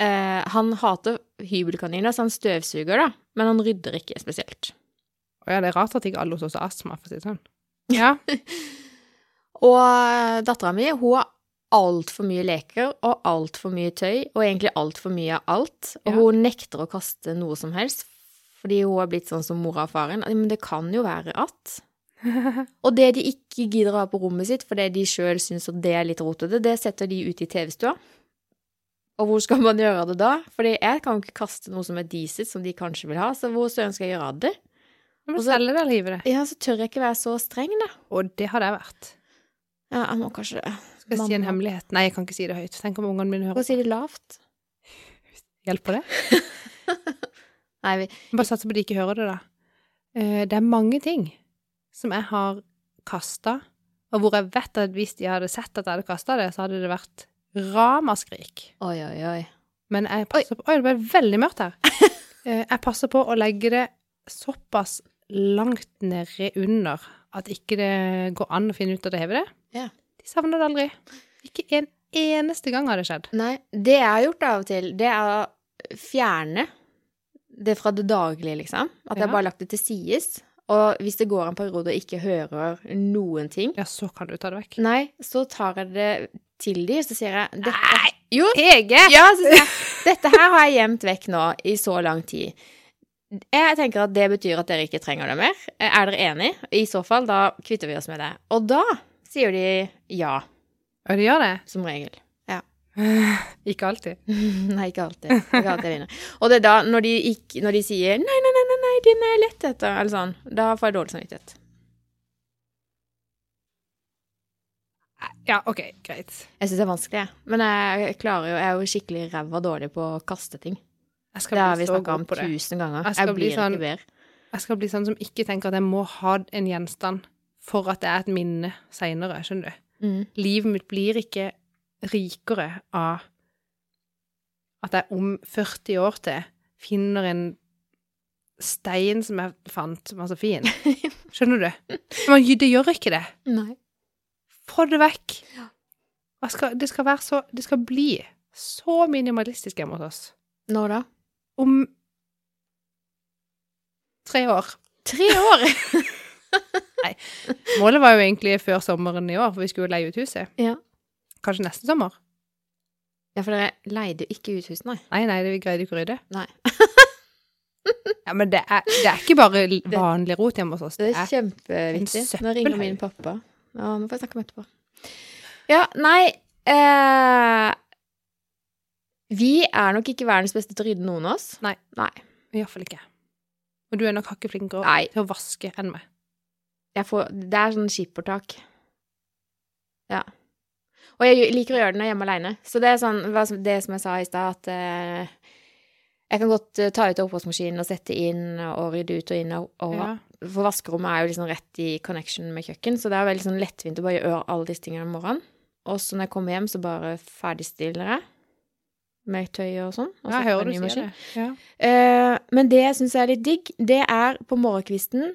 Speaker 2: Eh, han hater hybelkaniner, så han støvsuger, da. Men han rydder ikke spesielt.
Speaker 1: Å ja, det er rart at ikke alle hos oss har astma, for å si det sånn. Ja.
Speaker 2: Og dattera mi, hun har altfor mye leker og altfor mye tøy, og egentlig altfor mye av alt. Og
Speaker 1: Ja.
Speaker 2: hun nekter å kaste noe som helst, fordi hun har blitt sånn som mora og faren. Men det kan jo være at Og det de ikke gidder å ha på rommet sitt fordi de sjøl syns at det er litt rotete, det setter de ut i TV-stua. Og hvor skal man gjøre av det da? Fordi jeg kan jo ikke kaste noe som er decent, som de kanskje vil ha, så hvor søren skal jeg gjøre av det?
Speaker 1: Du må
Speaker 2: Og så-
Speaker 1: selge det livet, det.
Speaker 2: Ja, så tør jeg ikke være så streng, da.
Speaker 1: Og det har det vært.
Speaker 2: Ja, jeg må kanskje
Speaker 1: Skal jeg si en
Speaker 2: Mamma.
Speaker 1: hemmelighet? Nei, jeg kan ikke si det høyt. Tenk om ungene mine
Speaker 2: Skal
Speaker 1: hører
Speaker 2: jeg si det lavt?
Speaker 1: Hjelper det?
Speaker 2: Nei, vi,
Speaker 1: Bare satser på at de ikke hører det, da. Eh, Det er mange ting som jeg har kasta, og hvor jeg vet at hvis de hadde sett at jeg hadde kasta det, så hadde det vært ramaskrik.
Speaker 2: Oi, oi, oi.
Speaker 1: Men jeg passer på Oi, det ble veldig mørkt her. Eh, Jeg passer på å legge det såpass langt nede under at ikke det går an å finne ut at jeg hever det.
Speaker 2: Ja.
Speaker 1: De savner det aldri. Ikke en eneste gang har det skjedd.
Speaker 2: Nei, det jeg har gjort av og til, det er å fjerne det fra det daglige, liksom. At
Speaker 1: Ja.
Speaker 2: jeg bare har lagt det til sides. Og hvis det går en periode og ikke hører noen ting,
Speaker 1: Ja, så kan du ta det vekk.
Speaker 2: nei, så tar jeg det til de, og så sier jeg dette,
Speaker 1: Nei!
Speaker 2: Jo,
Speaker 1: Hege!
Speaker 2: ja, så sier jeg dette her har jeg gjemt vekk nå i så lang tid. Jeg tenker at det betyr at dere ikke trenger det mer. Er dere enig? I så fall, da kvitter vi oss med det. Og da sier de ja,
Speaker 1: Ja, det gjør det.
Speaker 2: som regel.
Speaker 1: Ikke alltid.
Speaker 2: Nei, ikke alltid. Ikke alltid jeg vinner. Og det er da, når de, ikke, når de sier 'nei, nei, nei, nei, nei den er jeg lett etter', eller sånn, da får jeg dårlig samvittighet.
Speaker 1: Ja, OK, greit.
Speaker 2: Jeg syns det er vanskelig, jeg. Men jeg klarer jo, jeg er jo skikkelig ræva dårlig på å kaste ting.
Speaker 1: Jeg skal
Speaker 2: Det har
Speaker 1: bli
Speaker 2: vi
Speaker 1: så
Speaker 2: snakka
Speaker 1: god
Speaker 2: om
Speaker 1: på det.
Speaker 2: tusen ganger.
Speaker 1: Jeg
Speaker 2: Jeg,
Speaker 1: skal bli
Speaker 2: blir
Speaker 1: sånn-
Speaker 2: ikke bedre.
Speaker 1: Jeg skal bli sånn som ikke tenker at jeg må ha en gjenstand for at det er et minne seinere, skjønner du.
Speaker 2: Mm.
Speaker 1: Livet mitt blir ikke rikere av at jeg om 40 år til finner en stein som jeg fant var så fin. Skjønner du? Men det gjør ikke det.
Speaker 2: Nei.
Speaker 1: Få det vekk. Og Jeg skal, det, skal være så, det skal bli så minimalistisk hjemme hos oss.
Speaker 2: Når da?
Speaker 1: Om tre år.
Speaker 2: Tre år!
Speaker 1: Målet var jo egentlig før sommeren i år, for vi skulle jo leie ut huset.
Speaker 2: Ja.
Speaker 1: Kanskje neste sommer?
Speaker 2: ja, for dere leide jo ikke ut huset, nei.
Speaker 1: Nei, nei, det vi greide jo ikke å rydde.
Speaker 2: Nei.
Speaker 1: Ja, men det er, det er ikke bare l- vanlig rot hjemme hos oss.
Speaker 2: Det
Speaker 1: Det
Speaker 2: er
Speaker 1: er,
Speaker 2: kjempeviktig.
Speaker 1: en
Speaker 2: Nå ringer
Speaker 1: søppelhaug.
Speaker 2: min pappa. Ja, nå får jeg snakke med etterpå. Ja, nei eh, Vi er nok ikke verdens beste til å rydde, noen av oss.
Speaker 1: Nei. iallfall ikke. Og du er nok hakket flinkere
Speaker 2: Nei.
Speaker 1: til å vaske enn meg.
Speaker 2: Jeg får, det er sånn skippertak. Ja. Og jeg liker å gjøre det når jeg er hjemme aleine. Så det er sånn, hva som- det som jeg sa i stad, at eh, jeg kan godt eh, ta ut av oppvaskmaskinen og sette inn og rydde ut og inn og, og
Speaker 1: Ja.
Speaker 2: For vaskerommet er jo liksom rett i connection med kjøkken, så det er veldig sånn lettvint å bare gjøre alle disse tingene om morgenen. Og så når jeg kommer hjem, så bare ferdigstiller jeg med tøy og sånn. og
Speaker 1: Ja, jeg
Speaker 2: setter på en
Speaker 1: hører du
Speaker 2: ny
Speaker 1: sier
Speaker 2: maskin.
Speaker 1: det. Ja.
Speaker 2: Eh, men det jeg syns er litt digg, det er på morgenkvisten,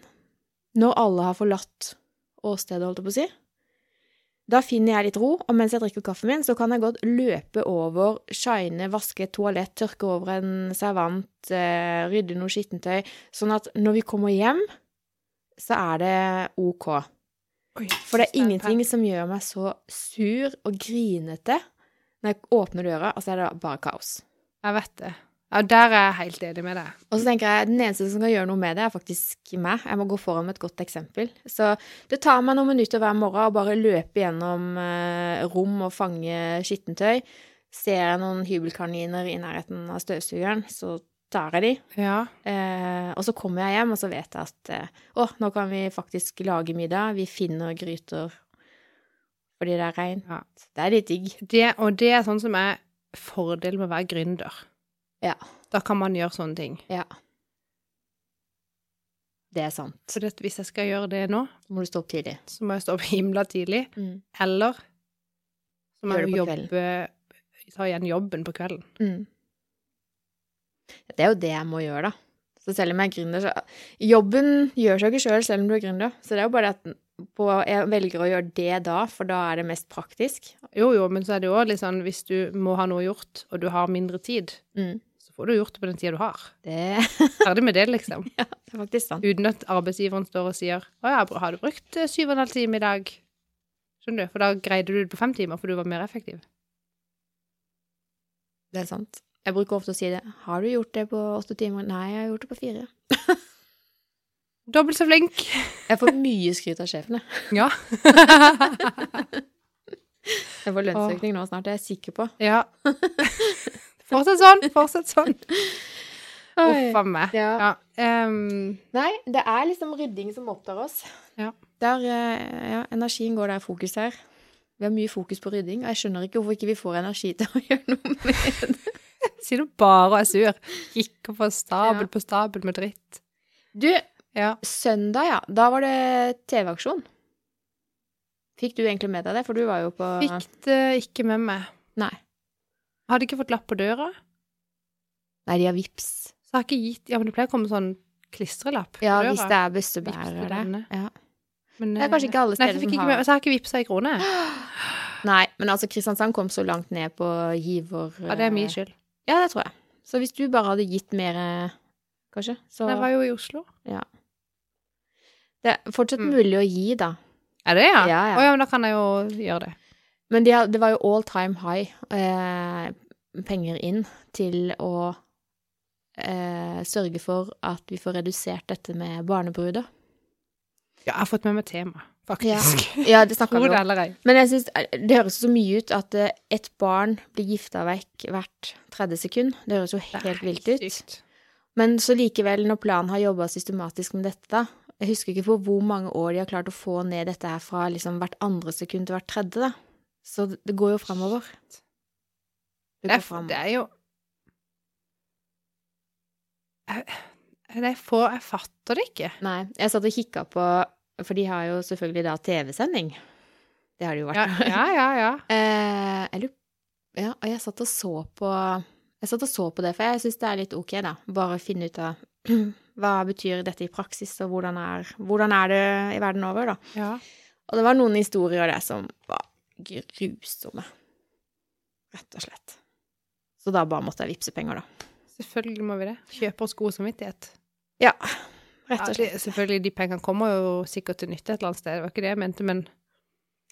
Speaker 2: når alle har forlatt åstedet, holdt jeg på å si. Da finner jeg litt ro, og mens jeg drikker kaffen min, så kan jeg godt løpe over, shine, vaske et toalett, tørke over en servant, eh, rydde noe skittentøy. Sånn at når vi kommer hjem, så er det ok.
Speaker 1: Oi,
Speaker 2: For det
Speaker 1: så
Speaker 2: er ingenting som gjør meg så sur og grinete når jeg åpner døra, altså er det bare kaos.
Speaker 1: Jeg vet det. Ja, der er jeg helt enig med deg.
Speaker 2: Og så tenker jeg, Den eneste som kan gjøre noe med det, er faktisk meg. Jeg må gå foran med et godt eksempel. Så det tar meg noen minutter hver morgen å bare løpe gjennom eh, rom og fange skittentøy. Ser jeg noen hybelkaniner i nærheten av støvsugeren, så tar jeg de.
Speaker 1: Ja.
Speaker 2: Eh, og så kommer jeg hjem, og så vet jeg at eh, å, nå kan vi faktisk lage middag. Vi finner gryter fordi det er regn.
Speaker 1: Ja.
Speaker 2: Det er litt digg.
Speaker 1: Det, og det er sånn som er fordelen med å være gründer.
Speaker 2: Ja.
Speaker 1: Da kan man gjøre sånne ting.
Speaker 2: Ja. Det er sant.
Speaker 1: For det, at hvis jeg skal gjøre det nå,
Speaker 2: Da må du stå opp tidlig.
Speaker 1: så må jeg stå opp himla tidlig. Eller så må
Speaker 2: Gjør
Speaker 1: jeg
Speaker 2: det
Speaker 1: jo
Speaker 2: på kvelden.
Speaker 1: jobbe Ta igjen jobben på kvelden.
Speaker 2: Mm. Det er jo det jeg må gjøre, da. Så selv om jeg er gründer, så Jobben gjør seg jo ikke sjøl selv, om du er gründer. Så det er jo bare det at på, jeg velger å gjøre det da, for da er det mest praktisk.
Speaker 1: Jo, jo, men så er det jo òg litt sånn hvis du må ha noe gjort, og du har mindre tid,
Speaker 2: Mm.
Speaker 1: så får du gjort det på den tida du har.
Speaker 2: Det,
Speaker 1: Ferdig med det, liksom.
Speaker 2: det er faktisk sant.
Speaker 1: Uten at arbeidsgiveren står og sier 'Å ja, har du brukt eh, syv og en halv time i dag?' Skjønner du? For da greide du det på fem timer, for du var mer effektiv.
Speaker 2: Det er sant. Jeg bruker ofte å si det. Har du gjort det på åtte timer? Nei, jeg har gjort det på fire.
Speaker 1: Dobbelt så flink!
Speaker 2: Jeg får mye skryt av sjefen, jeg.
Speaker 1: Ja.
Speaker 2: Jeg får lønnsøkning nå snart, det er jeg sikker på.
Speaker 1: ja. Fortsett sånn, fortsett sånn. Uff a meg.
Speaker 2: Ja.
Speaker 1: Ja. ehm,
Speaker 2: Nei, det er liksom rydding som opptar oss.
Speaker 1: Ja.
Speaker 2: Der, eh, ja, energien går der fokus her. Vi har mye fokus på rydding, og jeg skjønner ikke hvorfor ikke vi får energi til å gjøre noe med det.
Speaker 1: sier du bare og er sur. Kikker på stabel
Speaker 2: Ja.
Speaker 1: på stabel med dritt.
Speaker 2: Du,
Speaker 1: Ja.
Speaker 2: søndag, ja. Da var det TV-aksjon. Fikk du egentlig med deg det? For du var jo på
Speaker 1: Fikk det ikke med meg.
Speaker 2: Nei.
Speaker 1: Hadde ikke fått lapp på døra.
Speaker 2: Nei, de har vips.
Speaker 1: Så har ikke gitt Ja, men det pleier å komme sånn klistrelapp på
Speaker 2: Ja,
Speaker 1: døra.
Speaker 2: hvis det er bøssebærer
Speaker 1: Vips
Speaker 2: der.
Speaker 1: til denne.
Speaker 2: Ja.
Speaker 1: Men, eh,
Speaker 2: Det er kanskje ikke alle
Speaker 1: Nei,
Speaker 2: steder
Speaker 1: så fikk
Speaker 2: som
Speaker 1: ikke
Speaker 2: har
Speaker 1: med, så har jeg ikke vippsa ei krone.
Speaker 2: Nei, men altså, Kristiansand kom så langt ned på giver...
Speaker 1: Ja, det er min skyld.
Speaker 2: Ja, det tror jeg. Så hvis du bare hadde gitt mer, eh, kanskje, så
Speaker 1: Jeg var jo i Oslo.
Speaker 2: Det er fortsatt
Speaker 1: Mm.
Speaker 2: mulig å gi, da.
Speaker 1: Er det, ja? Å ja,
Speaker 2: Ja, ja.
Speaker 1: men da kan jeg jo gjøre det.
Speaker 2: Men de, har- det var jo all time high eh, penger inn til å eh, sørge for at vi får redusert dette med barnebruder.
Speaker 1: Ja, jeg har fått med meg tema, faktisk.
Speaker 2: Ja, det snakka
Speaker 1: Tro
Speaker 2: vi
Speaker 1: det
Speaker 2: om.
Speaker 1: eller ei.
Speaker 2: Men jeg synes, eh, det høres så mye ut at eh, et barn blir gifta vekk hvert 30 sekund. Det høres jo
Speaker 1: Det er
Speaker 2: helt vilt ut.
Speaker 1: sykt.
Speaker 2: Men så likevel, når planen har jobba systematisk med dette, da Jeg husker ikke på hvor mange år de har klart å få ned dette her fra liksom hvert andre sekund til hvert tredje, da. Så det det går jo framover. Det
Speaker 1: Det
Speaker 2: går
Speaker 1: er, f- det
Speaker 2: framover.
Speaker 1: er jo jeg, det er få Jeg fatter det ikke.
Speaker 2: Nei, jeg satt og kikka på For de har jo selvfølgelig da TV-sending. Det har de jo
Speaker 1: Ja,
Speaker 2: vært.
Speaker 1: ja, ja. ja.
Speaker 2: Eh, jeg lurer Ja, og jeg satt og så på Jeg satt og så på det, for jeg syns det er litt ok, da. Bare finne ut av hva betyr dette i praksis, og hvordan er, hvordan er det i verden over, da.
Speaker 1: ja.
Speaker 2: Og det var noen historier der som var grusomme. Rett og slett. Så da bare måtte jeg vippse penger, da.
Speaker 1: Selvfølgelig må vi det. Kjøper oss god samvittighet.
Speaker 2: Ja, rett
Speaker 1: Ja,
Speaker 2: og
Speaker 1: det,
Speaker 2: slett.
Speaker 1: selvfølgelig, de pengene kommer jo sikkert til nytte et eller annet sted, det var ikke det jeg mente, men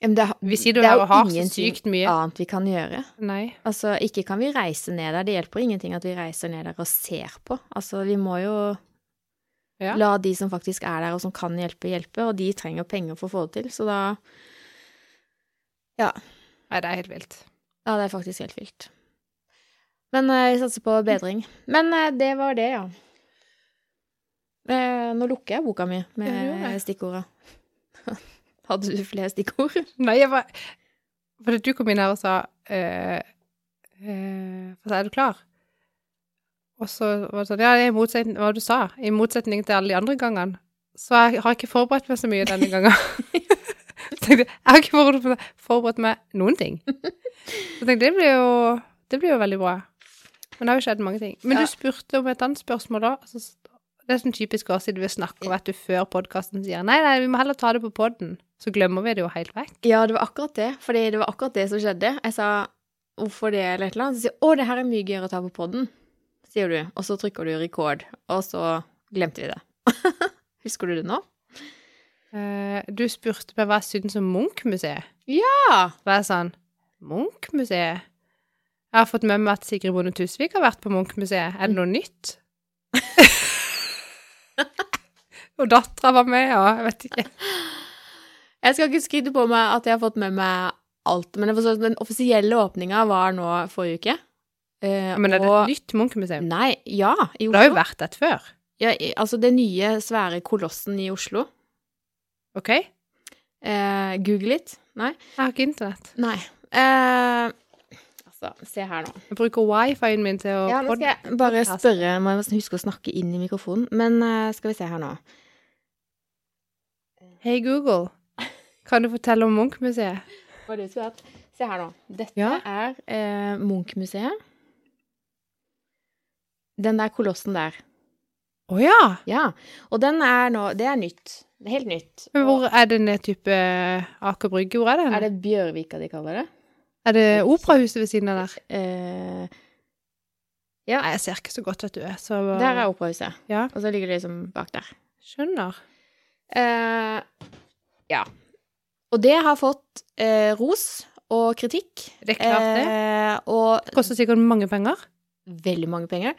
Speaker 2: Ja, men det,
Speaker 1: vi sitter
Speaker 2: Mm. det
Speaker 1: jo her
Speaker 2: er
Speaker 1: og har så
Speaker 2: ingenting
Speaker 1: sykt mye.
Speaker 2: annet vi kan gjøre.
Speaker 1: Nei.
Speaker 2: Altså, ikke kan vi reise ned der. Det hjelper ingenting at vi reiser ned der og ser på. Altså, vi må jo
Speaker 1: Ja.
Speaker 2: la de som faktisk er der, og som kan hjelpe, hjelpe. Og de trenger penger for å få det til, så da
Speaker 1: Nei, det er helt vilt.
Speaker 2: Ja, det er faktisk helt vilt. Men eh, vi satser på bedring. Men eh, det var det, ja. Eh, nå lukker jeg boka mi
Speaker 1: Ja, du gjør
Speaker 2: med
Speaker 1: det.
Speaker 2: stikkordet. Hadde du flere stikkord?
Speaker 1: Nei, jeg var Fordi du kom inn her og sa eh, eh, hva sa jeg, Er du klar? Og så var det sånn Ja, det er i motsetning hva du sa. I motsetning til alle de andre gangene. Så jeg har ikke forberedt meg så mye denne gangen. Så tenkte jeg jeg har ikke forberedt meg, forberedt meg noen ting. Så tenkte jeg det blir jo Det blir jo veldig bra. Men det har jo skjedd mange ting. Men
Speaker 2: Ja.
Speaker 1: du spurte om et annet spørsmål da. Altså, det er sånn typisk oss siden vi snakker vet du, før podkasten sier nei, nei, vi må heller ta det på poden. Så glemmer vi det jo helt vekk.
Speaker 2: Ja, det var akkurat det. Fordi det var akkurat det som skjedde. Jeg sa 'hvorfor det', eller et eller annet. Så sier jeg 'å, det her er mye gøyere å ta på poden', sier du. Og så trykker du record. Og så glemte vi det. Husker du det nå?
Speaker 1: Eh, du spurte meg hva jeg syns om Munch-museet.
Speaker 2: Ja!
Speaker 1: Så var jeg sånn Munch-museet? Jeg har fått med meg at Sigrid Bonde Tusvik har vært på Munch-museet. Er det noe nytt? og dattera var med, og jeg vet ikke.
Speaker 2: Jeg skal ikke skryte på sånn, meg at jeg har fått med meg alt, men jeg forstår at den offisielle åpninga var nå forrige uke. Eh,
Speaker 1: Men er det
Speaker 2: og-
Speaker 1: et nytt Munch-museum?
Speaker 2: Nei, ja, i
Speaker 1: Det har jo
Speaker 2: Oslo.
Speaker 1: vært et før.
Speaker 2: Ja, i, altså det nye svære kolossen i Oslo.
Speaker 1: OK? Jeg
Speaker 2: Eh, Google litt. Nei.
Speaker 1: har ikke internett.
Speaker 2: Nei. Eh, altså, se her nå.
Speaker 1: Jeg bruker wifien min til å
Speaker 2: Ja, nå skal jeg bare
Speaker 1: podcast.
Speaker 2: spørre, må jeg nesten huske å snakke inn i mikrofonen. Men eh, skal vi se her nå.
Speaker 1: Hei, Google. Kan du fortelle om Munch-museet?
Speaker 2: Hva du skulle hatt. Se her nå. Dette
Speaker 1: Ja.
Speaker 2: er eh, Munch-museet. Den der kolossen der.
Speaker 1: Å ja!
Speaker 2: Ja. Og den er nå Det er nytt. Det er helt nytt.
Speaker 1: Men
Speaker 2: Og
Speaker 1: hvor er den der type eh, Aker Brygge? Hvor er den?
Speaker 2: er det Bjørvika de kaller det?
Speaker 1: Er det operahuset ved siden av der?
Speaker 2: Eh,
Speaker 1: Nei, jeg ser ikke så godt, vet du. jeg, Så
Speaker 2: der er operahuset.
Speaker 1: Ja.
Speaker 2: Og så ligger det liksom bak der.
Speaker 1: Skjønner.
Speaker 2: Eh, ja. Og det har fått eh, ros og kritikk.
Speaker 1: Det er klart, det.
Speaker 2: Eh, og
Speaker 1: Det koster sikkert mange penger.
Speaker 2: veldig mange penger.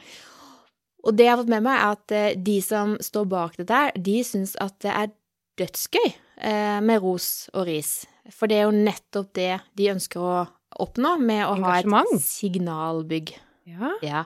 Speaker 2: Og det jeg har fått med meg, er at eh, de som står bak dette her, de syns at det er dødsgøy eh, med ros og ris. For det er jo nettopp det de ønsker å oppnå med å ha
Speaker 1: Engasjement.
Speaker 2: et signalbygg.
Speaker 1: Ja.
Speaker 2: Ja.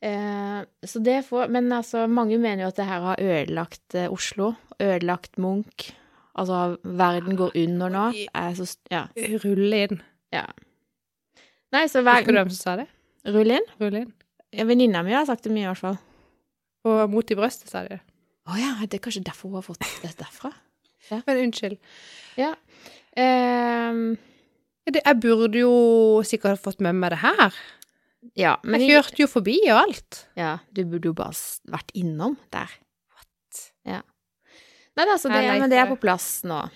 Speaker 2: Eh, så det får Men altså, mange mener jo at det her har ødelagt eh, Oslo. Ødelagt Munch. Altså, verden går under nå. Er så, st- ja.
Speaker 1: Rulle inn.
Speaker 2: Nei,
Speaker 1: Husker
Speaker 2: så
Speaker 1: du
Speaker 2: verden
Speaker 1: hvem som sa det?
Speaker 2: Rull inn.
Speaker 1: Rulle inn.
Speaker 2: Ja, Venninna mi har sagt det mye, i hvert fall.
Speaker 1: Og mot i brøstet, sa de.
Speaker 2: Å ja, det er kanskje derfor hun har fått det derfra?
Speaker 1: Men unnskyld.
Speaker 2: Ehm,
Speaker 1: Det, jeg burde jo sikkert fått med meg det her.
Speaker 2: ja, men
Speaker 1: Jeg kjørte jo forbi og alt.
Speaker 2: ja, du burde jo bare s- vært innom der. Ja. Nei, da, så det,
Speaker 1: Jeg er lei
Speaker 2: men det er
Speaker 1: for
Speaker 2: på plass nå.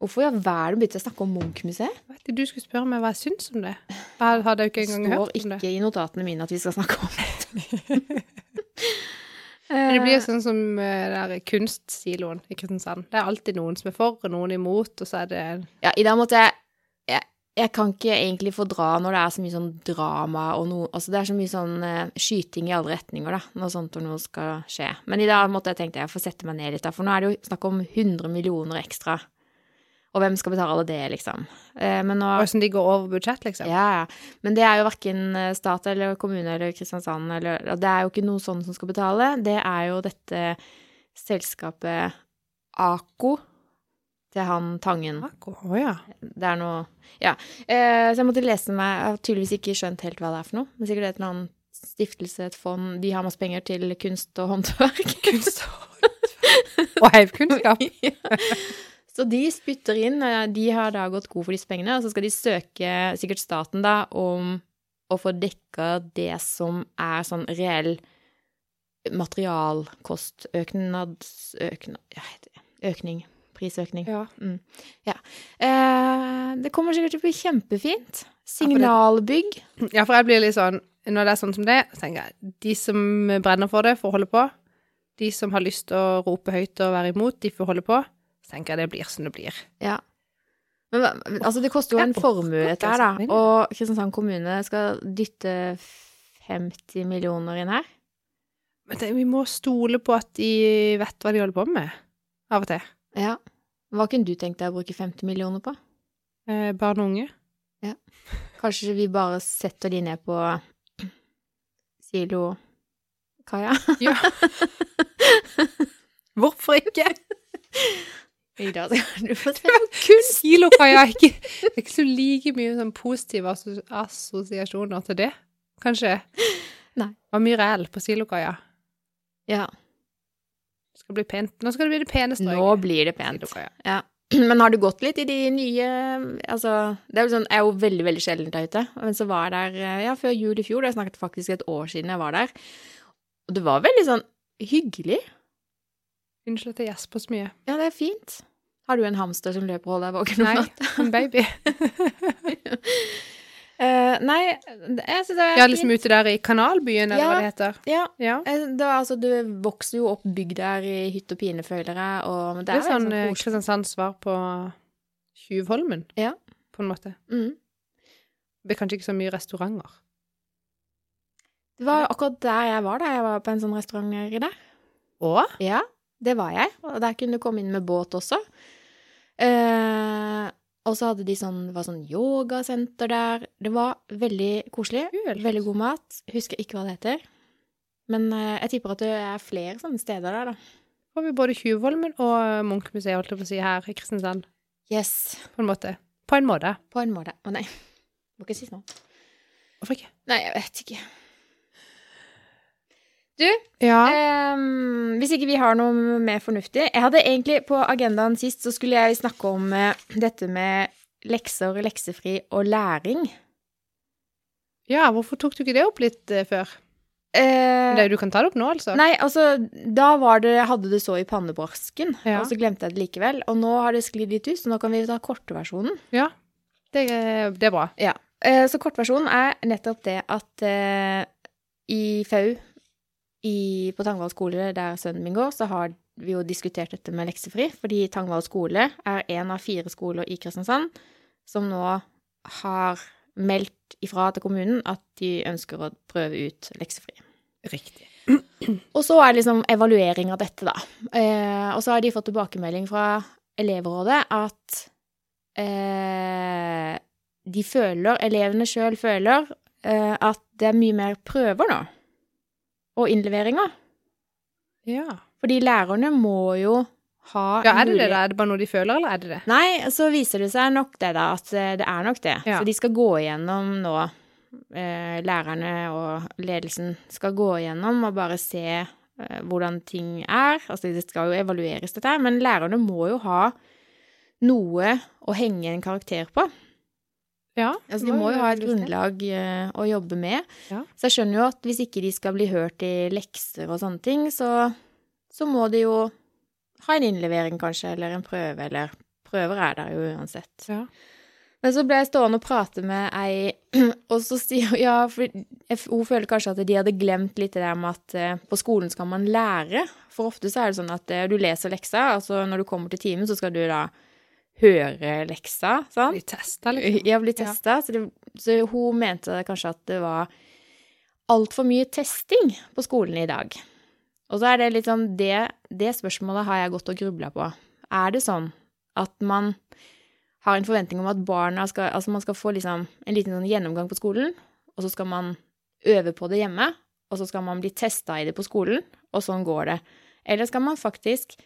Speaker 2: Hvorfor i all verden begynte jeg å snakke om Munch-museet?
Speaker 1: Vet du, du skulle spørre meg hva jeg syns om det. Jeg hadde jo ikke
Speaker 2: Det
Speaker 1: engang
Speaker 2: står
Speaker 1: hørt om det.
Speaker 2: ikke i notatene mine at vi skal snakke om Eh,
Speaker 1: Men det blir jo
Speaker 2: det.
Speaker 1: sånn som eh, der kunstsiloen i Kristiansand. Det er alltid noen som er for, og noen imot, og så er det
Speaker 2: ja, I dag måtte jeg, jeg Jeg kan ikke egentlig fordra når det er så mye sånn drama og noe Altså det er så mye sånn eh, skyting i alle retninger, da, når sånt og noe skal skje. Men i dag måtte jeg tenke jeg får sette meg ned litt, da, for nå er det jo snakk om 100 millioner ekstra. Og hvem skal betale det, liksom? Eh, men nå
Speaker 1: Åssen de går over budsjett, liksom.
Speaker 2: Ja, ja. Men det er jo verken stat eller kommune eller Kristiansand eller og Det er jo ikke noe sånn som skal betale. Det er jo dette selskapet Ako til han Tangen.
Speaker 1: Akko, Ah, Å ja.
Speaker 2: Det er noe Ja. Eh, så jeg måtte lese meg Jeg har tydeligvis ikke skjønt helt hva det er for noe. Men sikkert et eller annet stiftelse, et fond De har masse penger til kunst og håndverk. Kunst
Speaker 1: Og heivkunnskap.
Speaker 2: Så de spytter inn, eh, de har da gått god for disse pengene, og så skal de søke sikkert staten da om å få dekka det som er sånn reell materialkost, øknads... Økna, ja, heter det- økning. Prisøkning.
Speaker 1: Ja.
Speaker 2: Eh, det kommer sikkert til å bli kjempefint. Signalbygg.
Speaker 1: ja, for jeg blir litt sånn Når det er sånn som det, så tenker jeg de som brenner for det, får holde på. De som har lyst til å rope høyt og være imot, de får holde på. Så tenker jeg det blir som det blir.
Speaker 2: Ja. Men hva- altså, det koster jo en
Speaker 1: Jeg orker
Speaker 2: formue,
Speaker 1: ikke
Speaker 2: dette her, da.
Speaker 1: å sette meg inn.
Speaker 2: Og Kristiansand kommune skal dytte 50 millioner inn her.
Speaker 1: Men det, vi må stole på at de vet hva de holder på med, av og til.
Speaker 2: Ja. Hva kunne du tenkt deg å bruke 50 millioner på?
Speaker 1: Eh, barn og unge.
Speaker 2: Kanskje vi bare setter de ned på silokaia?
Speaker 1: Ja. Hvorfor ikke?
Speaker 2: Du får se.
Speaker 1: Kun silokaia er ikke Det er ikke så like mye sånn positive asso- assosiasjoner til det, kanskje.
Speaker 2: Nei.
Speaker 1: Og Myrel på silokaia.
Speaker 2: Ja.
Speaker 1: Det Skal bli pent. Nå skal det bli det peneste
Speaker 2: Nå
Speaker 1: øyet.
Speaker 2: blir det pent.
Speaker 1: Silokaia.
Speaker 2: Ja. Men har du gått litt i de nye Altså, det er jo sånn, jeg er jo veldig, veldig sjelden der ute. Men så var jeg der eh, ja, før jul i fjor. Det er snakket faktisk et år siden jeg var der. Og det var veldig sånn hyggelig.
Speaker 1: Unnskyld at jeg gjesper så mye.
Speaker 2: Ja, det er fint. Har du en hamster som løper og holder deg våken om
Speaker 1: Nei,
Speaker 2: natta?
Speaker 1: en baby.
Speaker 2: Eh, nei, jeg syns det er
Speaker 1: Jeg er liksom ute der i kanalbyen, eller
Speaker 2: Ja.
Speaker 1: hva det heter.
Speaker 2: Ja,
Speaker 1: Ja.
Speaker 2: eh, det var, altså, du vokser jo opp bygd der i hytt og pine, føler jeg. Og det
Speaker 1: Det
Speaker 2: er
Speaker 1: er
Speaker 2: veldig
Speaker 1: sånn eh,
Speaker 2: koselig.
Speaker 1: Kristiansands svar på Tjuvholmen,
Speaker 2: Ja.
Speaker 1: på en måte.
Speaker 2: Mm.
Speaker 1: Det er kanskje ikke så mye restauranter.
Speaker 2: Det var akkurat der jeg var da jeg var på en sånn restaurant her i dag.
Speaker 1: Å?
Speaker 2: Ja, det var jeg. Og der kunne du komme inn med båt også. Eh, Og så hadde de sånn, var sånn yogasenter der. Det var veldig koselig.
Speaker 1: Kult.
Speaker 2: Veldig god mat. Husker ikke hva det heter. Men eh, jeg tipper at det er flere sånne steder der, da.
Speaker 1: Får vi både Tjuvholmen og Munchmuseet, holdt jeg på å si, her i Kristiansand,
Speaker 2: Yes.
Speaker 1: på en måte. På en måte.
Speaker 2: På en måte. Å nei. Må ikke si noe.
Speaker 1: Hvorfor ikke?
Speaker 2: Nei, jeg vet ikke.
Speaker 1: Ja.
Speaker 2: Eh. Ehm, hvis ikke vi har noe mer fornuftig Jeg hadde egentlig på agendaen sist så skulle jeg snakke om eh, dette med lekser, leksefri og læring.
Speaker 1: ja, hvorfor tok du ikke det opp litt eh, før?
Speaker 2: Eh,
Speaker 1: Det, du kan ta det opp nå, altså.
Speaker 2: Nei, altså, da var det, hadde det så i pannebrasken,
Speaker 1: Ja.
Speaker 2: og så glemte jeg det likevel. Og nå har det sklidd litt ut, så nå kan vi ta kortversjonen.
Speaker 1: Ja, det, er- det er bra.
Speaker 2: Eh, så kortversjonen er nettopp det at eh, i FAU, i, på Tangvall skole, der sønnen min går, så har vi jo diskutert dette med leksefri, fordi Tangvall skole er en av fire skoler i Kristiansand som nå har meldt ifra til kommunen at de ønsker å prøve ut leksefri.
Speaker 1: Riktig.
Speaker 2: Og så er det liksom evaluering av dette, da. Eh, og så har de fått tilbakemelding fra elevrådet at eh, de føler, elevene sjøl føler, eh, at det er mye mer prøver nå. Og innleveringer.
Speaker 1: Ja.
Speaker 2: Fordi lærerne må jo ha
Speaker 1: ja, er det det
Speaker 2: mulighet-
Speaker 1: da? Er det bare noe de føler, eller er det det?
Speaker 2: Nei, så viser det seg nok det, da. At eh, det er nok det.
Speaker 1: Ja.
Speaker 2: Så de skal gå igjennom nå. eh, Lærerne og ledelsen skal gå igjennom og bare se eh, hvordan ting er. Altså, det skal jo evalueres, dette her, men lærerne må jo ha noe å henge en karakter på.
Speaker 1: Ja.
Speaker 2: Altså, de må jo ha et grunnlag eh, å jobbe med.
Speaker 1: Ja.
Speaker 2: Så jeg skjønner jo at hvis ikke de skal bli hørt i lekser og sånne ting, så, så må de jo ha en innlevering kanskje, eller en prøve, eller prøver er der jo uansett.
Speaker 1: Ja.
Speaker 2: Men så ble jeg stående og prate med ei, og så sier hun ja, for jeg- hun føler kanskje at de hadde glemt litt det der med at eh, på skolen skal man lære. For ofte så er det sånn at eh, du leser leksa, altså når du kommer til timen, så skal du da høre leksa, sant?
Speaker 1: De tester litt.
Speaker 2: Jeg ble
Speaker 1: Ja.
Speaker 2: testa, så, det- så hun mente kanskje at det var altfor mye testing på skolen i dag. Og så er det litt sånn Det, det spørsmålet har jeg gått og grubla på. Er det sånn at man har en forventning om at barna skal Altså man skal få liksom en liten sånn gjennomgang på skolen, og så skal man øve på det hjemme, og så skal man bli testa i det på skolen, og sånn går det. Eller skal man faktisk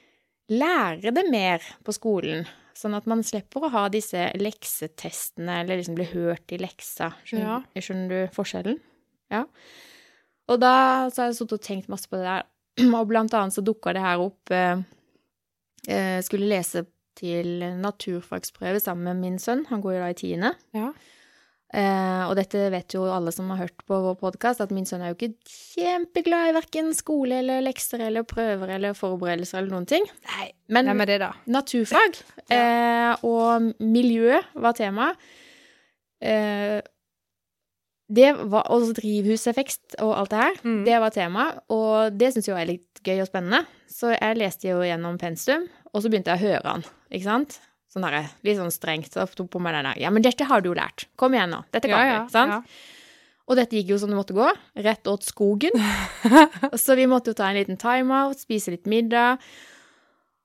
Speaker 2: lære det mer på skolen, sånn at man slipper å ha disse leksetestene, eller liksom bli hørt i leksa. Skjønner, skjønner du forskjellen? Ja. Og da så har jeg sittet og tenkt masse på det der, og blant annet så dukka det her opp eh, eh, Skulle lese til naturfagsprøve sammen med min sønn, han går jo da i tiende.
Speaker 1: Ja.
Speaker 2: Eh, og dette vet jo alle som har hørt på vår podkast, at min sønn er jo ikke kjempeglad i verken skole eller lekser eller prøver eller forberedelser eller noen ting.
Speaker 1: Nei,
Speaker 2: Men
Speaker 1: hvem er det, da?
Speaker 2: naturfag eh, og miljø var tema. Eh, det var, og drivhuseffekt og alt det her,
Speaker 1: Mm.
Speaker 2: det var tema. Og det syns jeg er litt gøy og spennende. Så jeg leste jo gjennom pensum, og så begynte jeg å høre han. Ikke sant? Sånn der, litt sånn strengt. Så tok på meg den der. Ja, men dette har du jo lært. Kom igjen nå. Dette kan du. Sant? Og dette gikk jo som det måtte gå, rett åt skogen. Og så vi måtte jo ta en liten timeout, spise litt middag.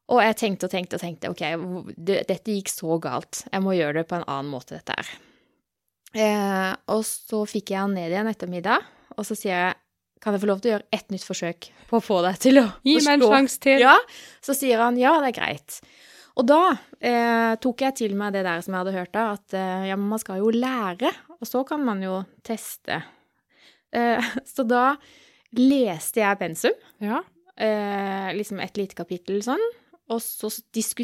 Speaker 2: Og jeg tenkte og tenkte og tenkte, ok, hvor- det, dette gikk så galt. Jeg må gjøre det på en annen måte, dette her. Eh, og så fikk jeg han ned igjen etter middag, og så sier jeg, kan jeg få lov til å gjøre et nytt forsøk på å få deg til å
Speaker 1: Gi meg en
Speaker 2: forstå
Speaker 1: sjanse til.
Speaker 2: ja, så sier han ja, det er greit. Og da eh, tok jeg til meg det der som jeg hadde hørt da, at eh, ja, men man skal jo lære, og så kan man jo teste. Eh, så da leste jeg pensum,
Speaker 1: Ja.
Speaker 2: eh, liksom et lite kapittel sånn, og så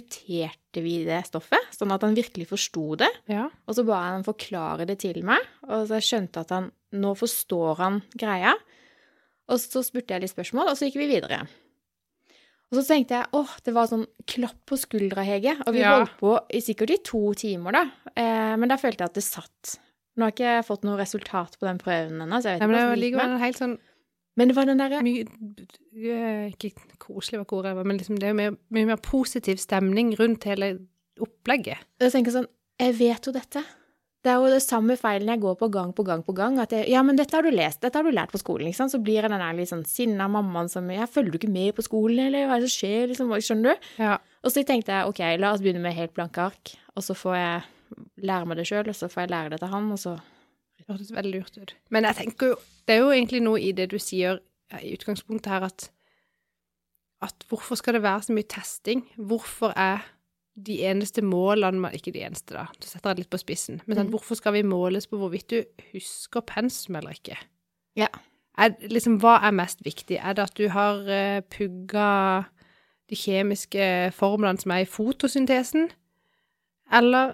Speaker 2: diskuterte vi det stoffet, sånn at han virkelig forsto det.
Speaker 1: Ja.
Speaker 2: Og så ba jeg han forklare det til meg, og så jeg skjønte at han, nå forstår han greia. Og så spurte jeg litt spørsmål, og så gikk vi videre. Og så tenkte jeg åh, det var sånn klapp på skuldra, Hege. Og vi
Speaker 1: Ja.
Speaker 2: holdt på i sikkert i to timer, da. Eh, men da følte jeg at det satt. Nå har ikke jeg fått noe resultat på den prøven ennå, så jeg
Speaker 1: Nei,
Speaker 2: vet
Speaker 1: men det
Speaker 2: ikke hva
Speaker 1: var
Speaker 2: som gikk med.
Speaker 1: likevel en helt sånn
Speaker 2: Men det var den derre
Speaker 1: mye eh, Ikke koselig var ordet jeg var, men liksom det er jo mye, mye mer positiv stemning rundt hele opplegget.
Speaker 2: Jeg tenker sånn Jeg vet jo dette. Det er jo det samme feilen jeg går på gang på gang på gang. At jeg, ja, men dette har du lest, dette har du lært på skolen. ikke sant? Så blir jeg den der litt sånn sinna mammaen som jeg, 'Følger du ikke med på skolen, eller hva er det som skjer?' liksom, hva- Skjønner du?
Speaker 1: Ja.
Speaker 2: Og så tenkte jeg ok, la oss begynne med helt blanke ark, og så får jeg lære meg det sjøl, og så får jeg lære det til han, og så
Speaker 1: Det hørtes veldig lurt ut. Men jeg tenker jo, det er jo egentlig noe i det du sier ja, i utgangspunktet her, at, at hvorfor skal det være så mye testing? Hvorfor er de eneste målene man, Ikke de eneste, da, du setter jeg det litt på spissen. Men sånn,
Speaker 2: Mhm.
Speaker 1: hvorfor skal vi måles på hvorvidt du husker pensum eller ikke?
Speaker 2: Ja.
Speaker 1: Er, liksom, hva er mest viktig? Er det at du har eh, pugga de kjemiske formlene som er i fotosyntesen? Eller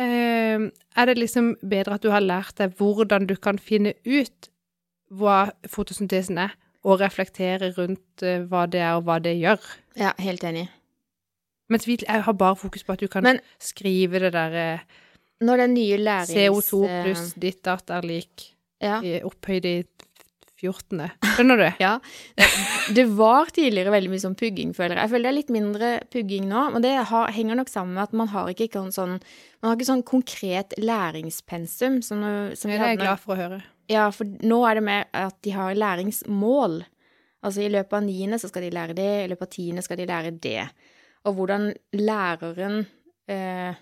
Speaker 1: eh, er det liksom bedre at du har lært deg hvordan du kan finne ut hva fotosyntesen er, og reflektere rundt eh, hva det er, og hva det gjør?
Speaker 2: Ja, helt enig.
Speaker 1: Mens vi jeg har bare fokus på at du kan
Speaker 2: Men-
Speaker 1: skrive det der eh,
Speaker 2: Når den nye lærings... eh,
Speaker 1: CO2 pluss ditt datt er lik
Speaker 2: Ja.
Speaker 1: i- opphøyd i 14. Skjønner du?
Speaker 2: Ja. Det var tidligere veldig mye sånn pugging, føler jeg. Jeg føler det er litt mindre pugging nå, men det har, henger nok sammen med at man har ikke sånn, sånn Man har ikke sånn konkret læringspensum som, som
Speaker 1: Det
Speaker 2: vi
Speaker 1: er
Speaker 2: hadde
Speaker 1: jeg
Speaker 2: når-
Speaker 1: glad for å høre.
Speaker 2: Ja, for nå er det mer at de har læringsmål. Altså i løpet av niende så skal de lære det, i løpet av tiende skal de lære det. Og hvordan læreren eh,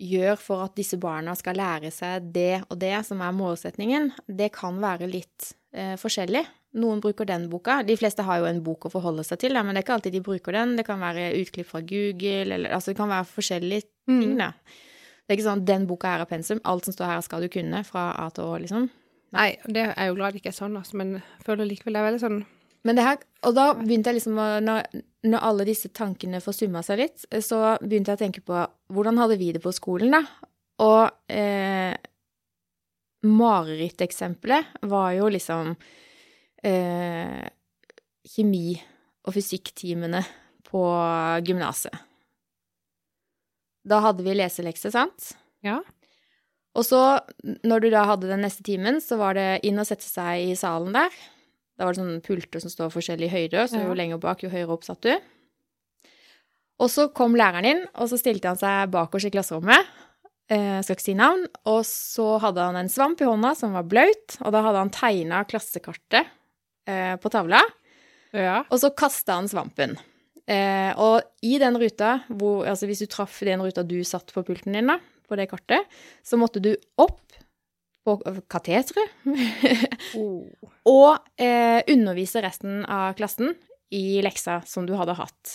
Speaker 2: gjør for at disse barna skal lære seg det og det, som er målsetningen, det kan være litt eh, forskjellig. Noen bruker den boka. De fleste har jo en bok å forholde seg til, da, men det er ikke alltid de bruker den. Det kan være utklipp fra Google, eller altså det kan være forskjellige ting, da. Det er ikke sånn at den boka her er pensum, alt som står her skal du kunne, fra A til Å, liksom.
Speaker 1: Nei, og det er jo glad det ikke er sånn, altså, men jeg føler likevel det er veldig sånn
Speaker 2: Men det her, og da begynte jeg liksom å når, når alle disse tankene forsumma seg litt, så begynte jeg å tenke på hvordan hadde vi det på skolen, da? Og eh, mareritteksempelet var jo liksom eh, kjemi- og fysikktimene på gymnaset. Da hadde vi leselekse, sant?
Speaker 1: Ja.
Speaker 2: Og så, når du da hadde den neste timen, så var det inn og sette seg i salen der. Da var det sånne pulter som står forskjellig høyde, så
Speaker 1: Ja.
Speaker 2: jo lenger bak, jo høyere opp satt du. Og så kom læreren inn, og så stilte han seg bak oss i klasserommet. Eh, skal ikke si navn. Og så hadde han en svamp i hånda som var blaut, og da hadde han tegna klassekartet eh, på tavla.
Speaker 1: Ja.
Speaker 2: Og så kasta han svampen. Eh, og i den ruta, hvor, altså hvis du traff den ruta du satt på pulten din, da, på det kartet, så måtte du opp på kateteret og eh, undervise resten av klassen i leksa som du hadde hatt.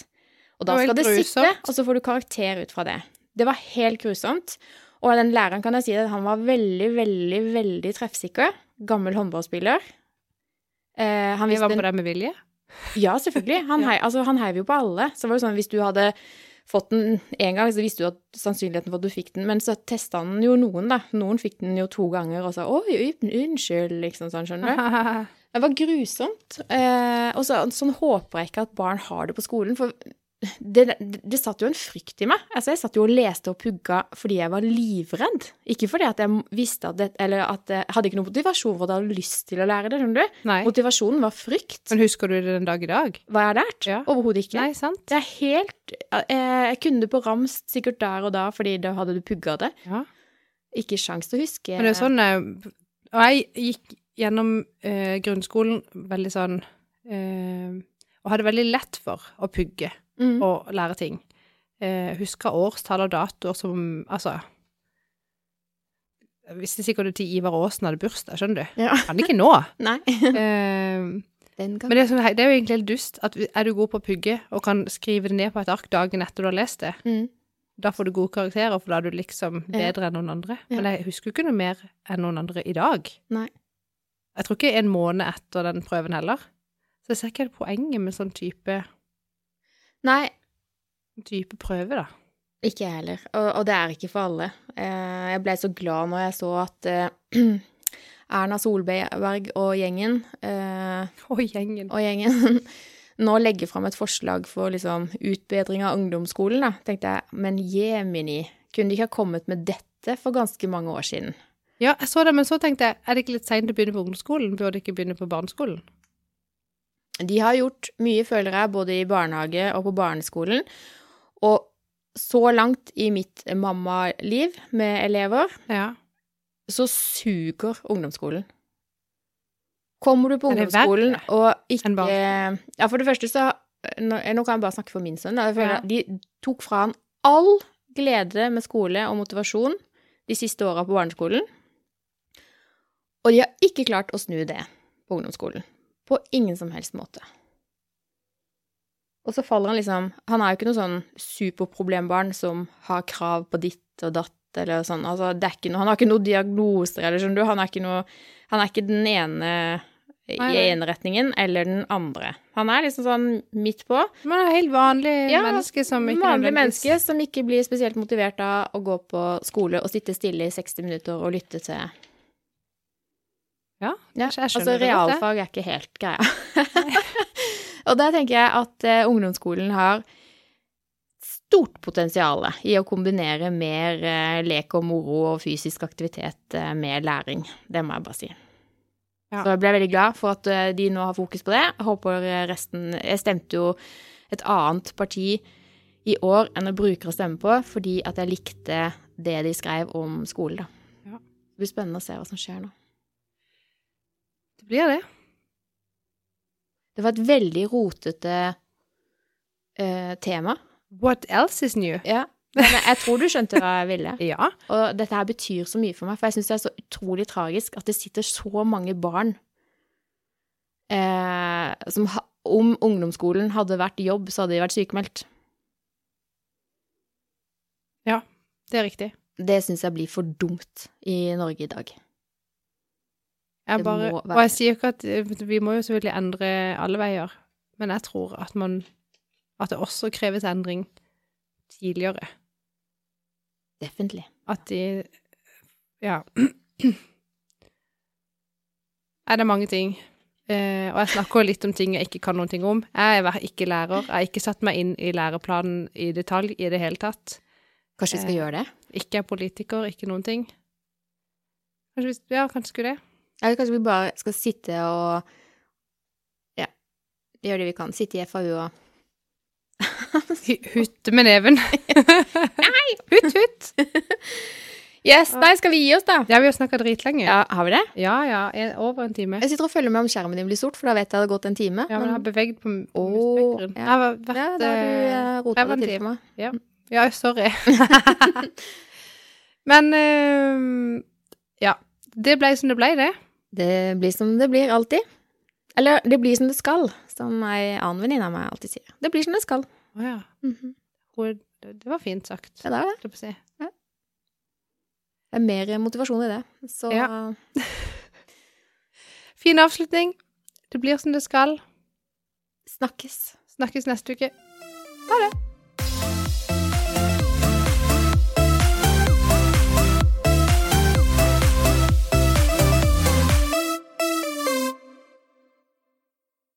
Speaker 2: Og
Speaker 1: Det
Speaker 2: da
Speaker 1: var
Speaker 2: skal
Speaker 1: helt
Speaker 2: det sitte,
Speaker 1: grusomt.
Speaker 2: og så får du karakter ut fra det. Det var helt grusomt. Og den læreren kan jeg si at han var veldig, veldig, veldig treffsikker. Gammel håndballspiller. Eh, han
Speaker 1: Vi
Speaker 2: visste
Speaker 1: var på det med vilje.
Speaker 2: ja, selvfølgelig. Han, hei, altså, han heiv jo på alle. Så var det sånn, hvis du hadde fått den én gang, så visste du at sannsynligheten for at du fikk den, men så testa han jo noen, da. Noen fikk den jo to ganger og sa 'oi, oi, unnskyld', liksom sånn, skjønner du. Det var grusomt. Eh, og så, sånn håper jeg ikke at barn har det på skolen, for det, det, det satt jo en frykt i meg. Altså, jeg satt jo og leste og pugga fordi jeg var livredd. Ikke fordi at jeg visste at det Eller at jeg hadde ikke noen motivasjon for at jeg hadde lyst til å lære det, skjønner du.
Speaker 1: Nei.
Speaker 2: Motivasjonen var frykt.
Speaker 1: Men husker du det den dag i dag?
Speaker 2: Hva jeg har lært?
Speaker 1: Ja.
Speaker 2: Overhodet ikke.
Speaker 1: Nei, sant?
Speaker 2: Det er helt eh, Jeg kunne det på rams sikkert der og da, fordi da hadde du pugga det.
Speaker 1: Ja.
Speaker 2: Ikke sjans til å huske.
Speaker 1: Men det er jo sånn eh, Og jeg gikk gjennom eh, grunnskolen veldig sånn eh, Og hadde veldig lett for å pugge
Speaker 2: Mm.
Speaker 1: og lære ting. Eh, husker årstall og datoer som Altså Jeg visste sikkert til Ivar Aasen hadde bursdag, skjønner du.
Speaker 2: Ja.
Speaker 1: Kan ikke nå.
Speaker 2: Nei.
Speaker 1: Eh,
Speaker 2: Den gang.
Speaker 1: Men det er, sånn, det er jo egentlig helt dust at er du god på å pugge og kan skrive det ned på et ark dagen etter du har lest det,
Speaker 2: Mm.
Speaker 1: da får du gode karakterer, for da er du liksom bedre enn noen andre.
Speaker 2: Ja.
Speaker 1: Men jeg husker jo ikke noe mer enn noen andre i dag.
Speaker 2: Nei.
Speaker 1: Jeg tror ikke en måned etter den prøven heller. Så jeg ser ikke helt poenget med sånn type,
Speaker 2: Nei,
Speaker 1: type prøve, da.
Speaker 2: ikke jeg heller. Og, og det er ikke for alle. Eh, jeg ble så glad når jeg så at eh, Erna Solberg og gjengen eh,
Speaker 1: Og gjengen.
Speaker 2: og gjengen nå legger fram et forslag for liksom, utbedring av ungdomsskolen, da, tenkte jeg. Men jemini, kunne de ikke ha kommet med dette for ganske mange år siden?
Speaker 1: Ja, jeg så det, men så tenkte jeg, er det ikke litt seint å begynne på ungdomsskolen? Burde ikke begynne på barneskolen?
Speaker 2: De har gjort mye, føler jeg, både i barnehage og på barneskolen. Og så langt i mitt mammaliv med elever,
Speaker 1: Ja.
Speaker 2: så suger ungdomsskolen. Kommer du på
Speaker 1: Er det
Speaker 2: ungdomsskolen
Speaker 1: verre
Speaker 2: og ikke
Speaker 1: enn barneskolen?
Speaker 2: Ja, for det første så Nå, nå kan jeg bare snakke for min sønn. da. Jeg føler
Speaker 1: Ja.
Speaker 2: at De tok fra han all Glede det med skole og motivasjon de siste åra på barneskolen. Og de har ikke klart å snu det på ungdomsskolen. På ingen som helst måte. Og så faller han liksom Han er jo ikke noe sånn superproblembarn som har krav på ditt og datt eller sånn. Altså, det er ikke noe, han har ikke noen diagnoser eller skjønner du. Han er ikke, noe, han er ikke den ene i
Speaker 1: Nei, nei.
Speaker 2: ene retningen eller den andre. Han er liksom sånn midt på.
Speaker 1: Man er helt vanlig
Speaker 2: Ja,
Speaker 1: menneske som ikke
Speaker 2: Vanlig
Speaker 1: nødvendigvis-
Speaker 2: menneske som ikke blir spesielt motivert av å gå på skole og sitte stille i 60 minutter og lytte til
Speaker 1: Ja,
Speaker 2: Ja,
Speaker 1: jeg skjønner
Speaker 2: altså
Speaker 1: det godt, det.
Speaker 2: realfag er ikke helt greia. og der tenker jeg at eh, ungdomsskolen har stort potensial i å kombinere mer eh, lek og moro og fysisk aktivitet eh, med læring. Det må jeg bare si.
Speaker 1: Ja.
Speaker 2: Så jeg ble veldig glad for at eh, de nå har fokus på det. Jeg håper eh, resten Jeg stemte jo et annet parti i år enn jeg bruker å stemme på, fordi at jeg likte det de skrev om skole, da.
Speaker 1: Ja.
Speaker 2: Det blir spennende å se hva som skjer nå.
Speaker 1: det blir det.
Speaker 2: Det var et veldig rotete eh, tema.
Speaker 1: What else is new?
Speaker 2: Ja. Men jeg tror du skjønte hva jeg ville.
Speaker 1: Ja.
Speaker 2: Og dette her betyr så mye for meg, for jeg syns det er så utrolig tragisk at det sitter så mange barn eh, som ha, Om ungdomsskolen hadde vært jobb, så hadde de vært sykemeldt.
Speaker 1: ja, det er riktig.
Speaker 2: Det syns jeg blir for dumt i Norge i dag.
Speaker 1: Jeg
Speaker 2: Det
Speaker 1: bare,
Speaker 2: må være-
Speaker 1: og jeg sier jo ikke at eh, Vi må jo selvfølgelig endre alle veier, men jeg tror at man At det også kreves endring tidligere.
Speaker 2: Defentlig.
Speaker 1: At de Ja. Er det mange ting? Eh, og jeg snakker jo litt om ting jeg ikke kan noen ting om. Jeg er vær- ikke lærer. Jeg har ikke satt meg inn i læreplanen i detalj i det hele tatt.
Speaker 2: Kanskje vi skal
Speaker 1: Eh.
Speaker 2: gjøre det?
Speaker 1: Ikke er politiker, ikke noen ting. Kanskje vi Ja, kanskje skulle det.
Speaker 2: Eller kanskje vi bare skal sitte og Ja, gjøre det vi kan. Sitte i FAU og
Speaker 1: Hu- Hutte med neven. Nei! Hutt, hutt.
Speaker 2: Yes! Nei, skal vi gi oss, da?
Speaker 1: Ja, vi har snakka dritlenge.
Speaker 2: Ja, har vi det?
Speaker 1: Ja, ja. En, over en time.
Speaker 2: Jeg sitter og følger med om skjermen din blir sort, for da vet jeg det har gått en time.
Speaker 1: Ja, men jeg har beveget på på
Speaker 2: Åh,
Speaker 1: spektrum.
Speaker 2: ja.
Speaker 1: Jeg har vært
Speaker 2: ja, da har du
Speaker 1: eh,
Speaker 2: eh, rotet det til
Speaker 1: preventiv.
Speaker 2: for meg.
Speaker 1: Ja, sorry. men eh, Ja. Det ble som det ble, det.
Speaker 2: Det blir som det blir alltid. Eller det blir som det skal, som ei annen venninne av meg alltid sier. Det blir som det skal.
Speaker 1: Å ja.
Speaker 2: Mhm.
Speaker 1: Hun- Det var fint sagt.
Speaker 2: Det er det.
Speaker 1: holdt jeg på å si.
Speaker 2: Det er mer motivasjon i det. Så
Speaker 1: Ja. Fin avslutning. Det blir som det skal.
Speaker 2: snakkes.
Speaker 1: Snakkes neste uke.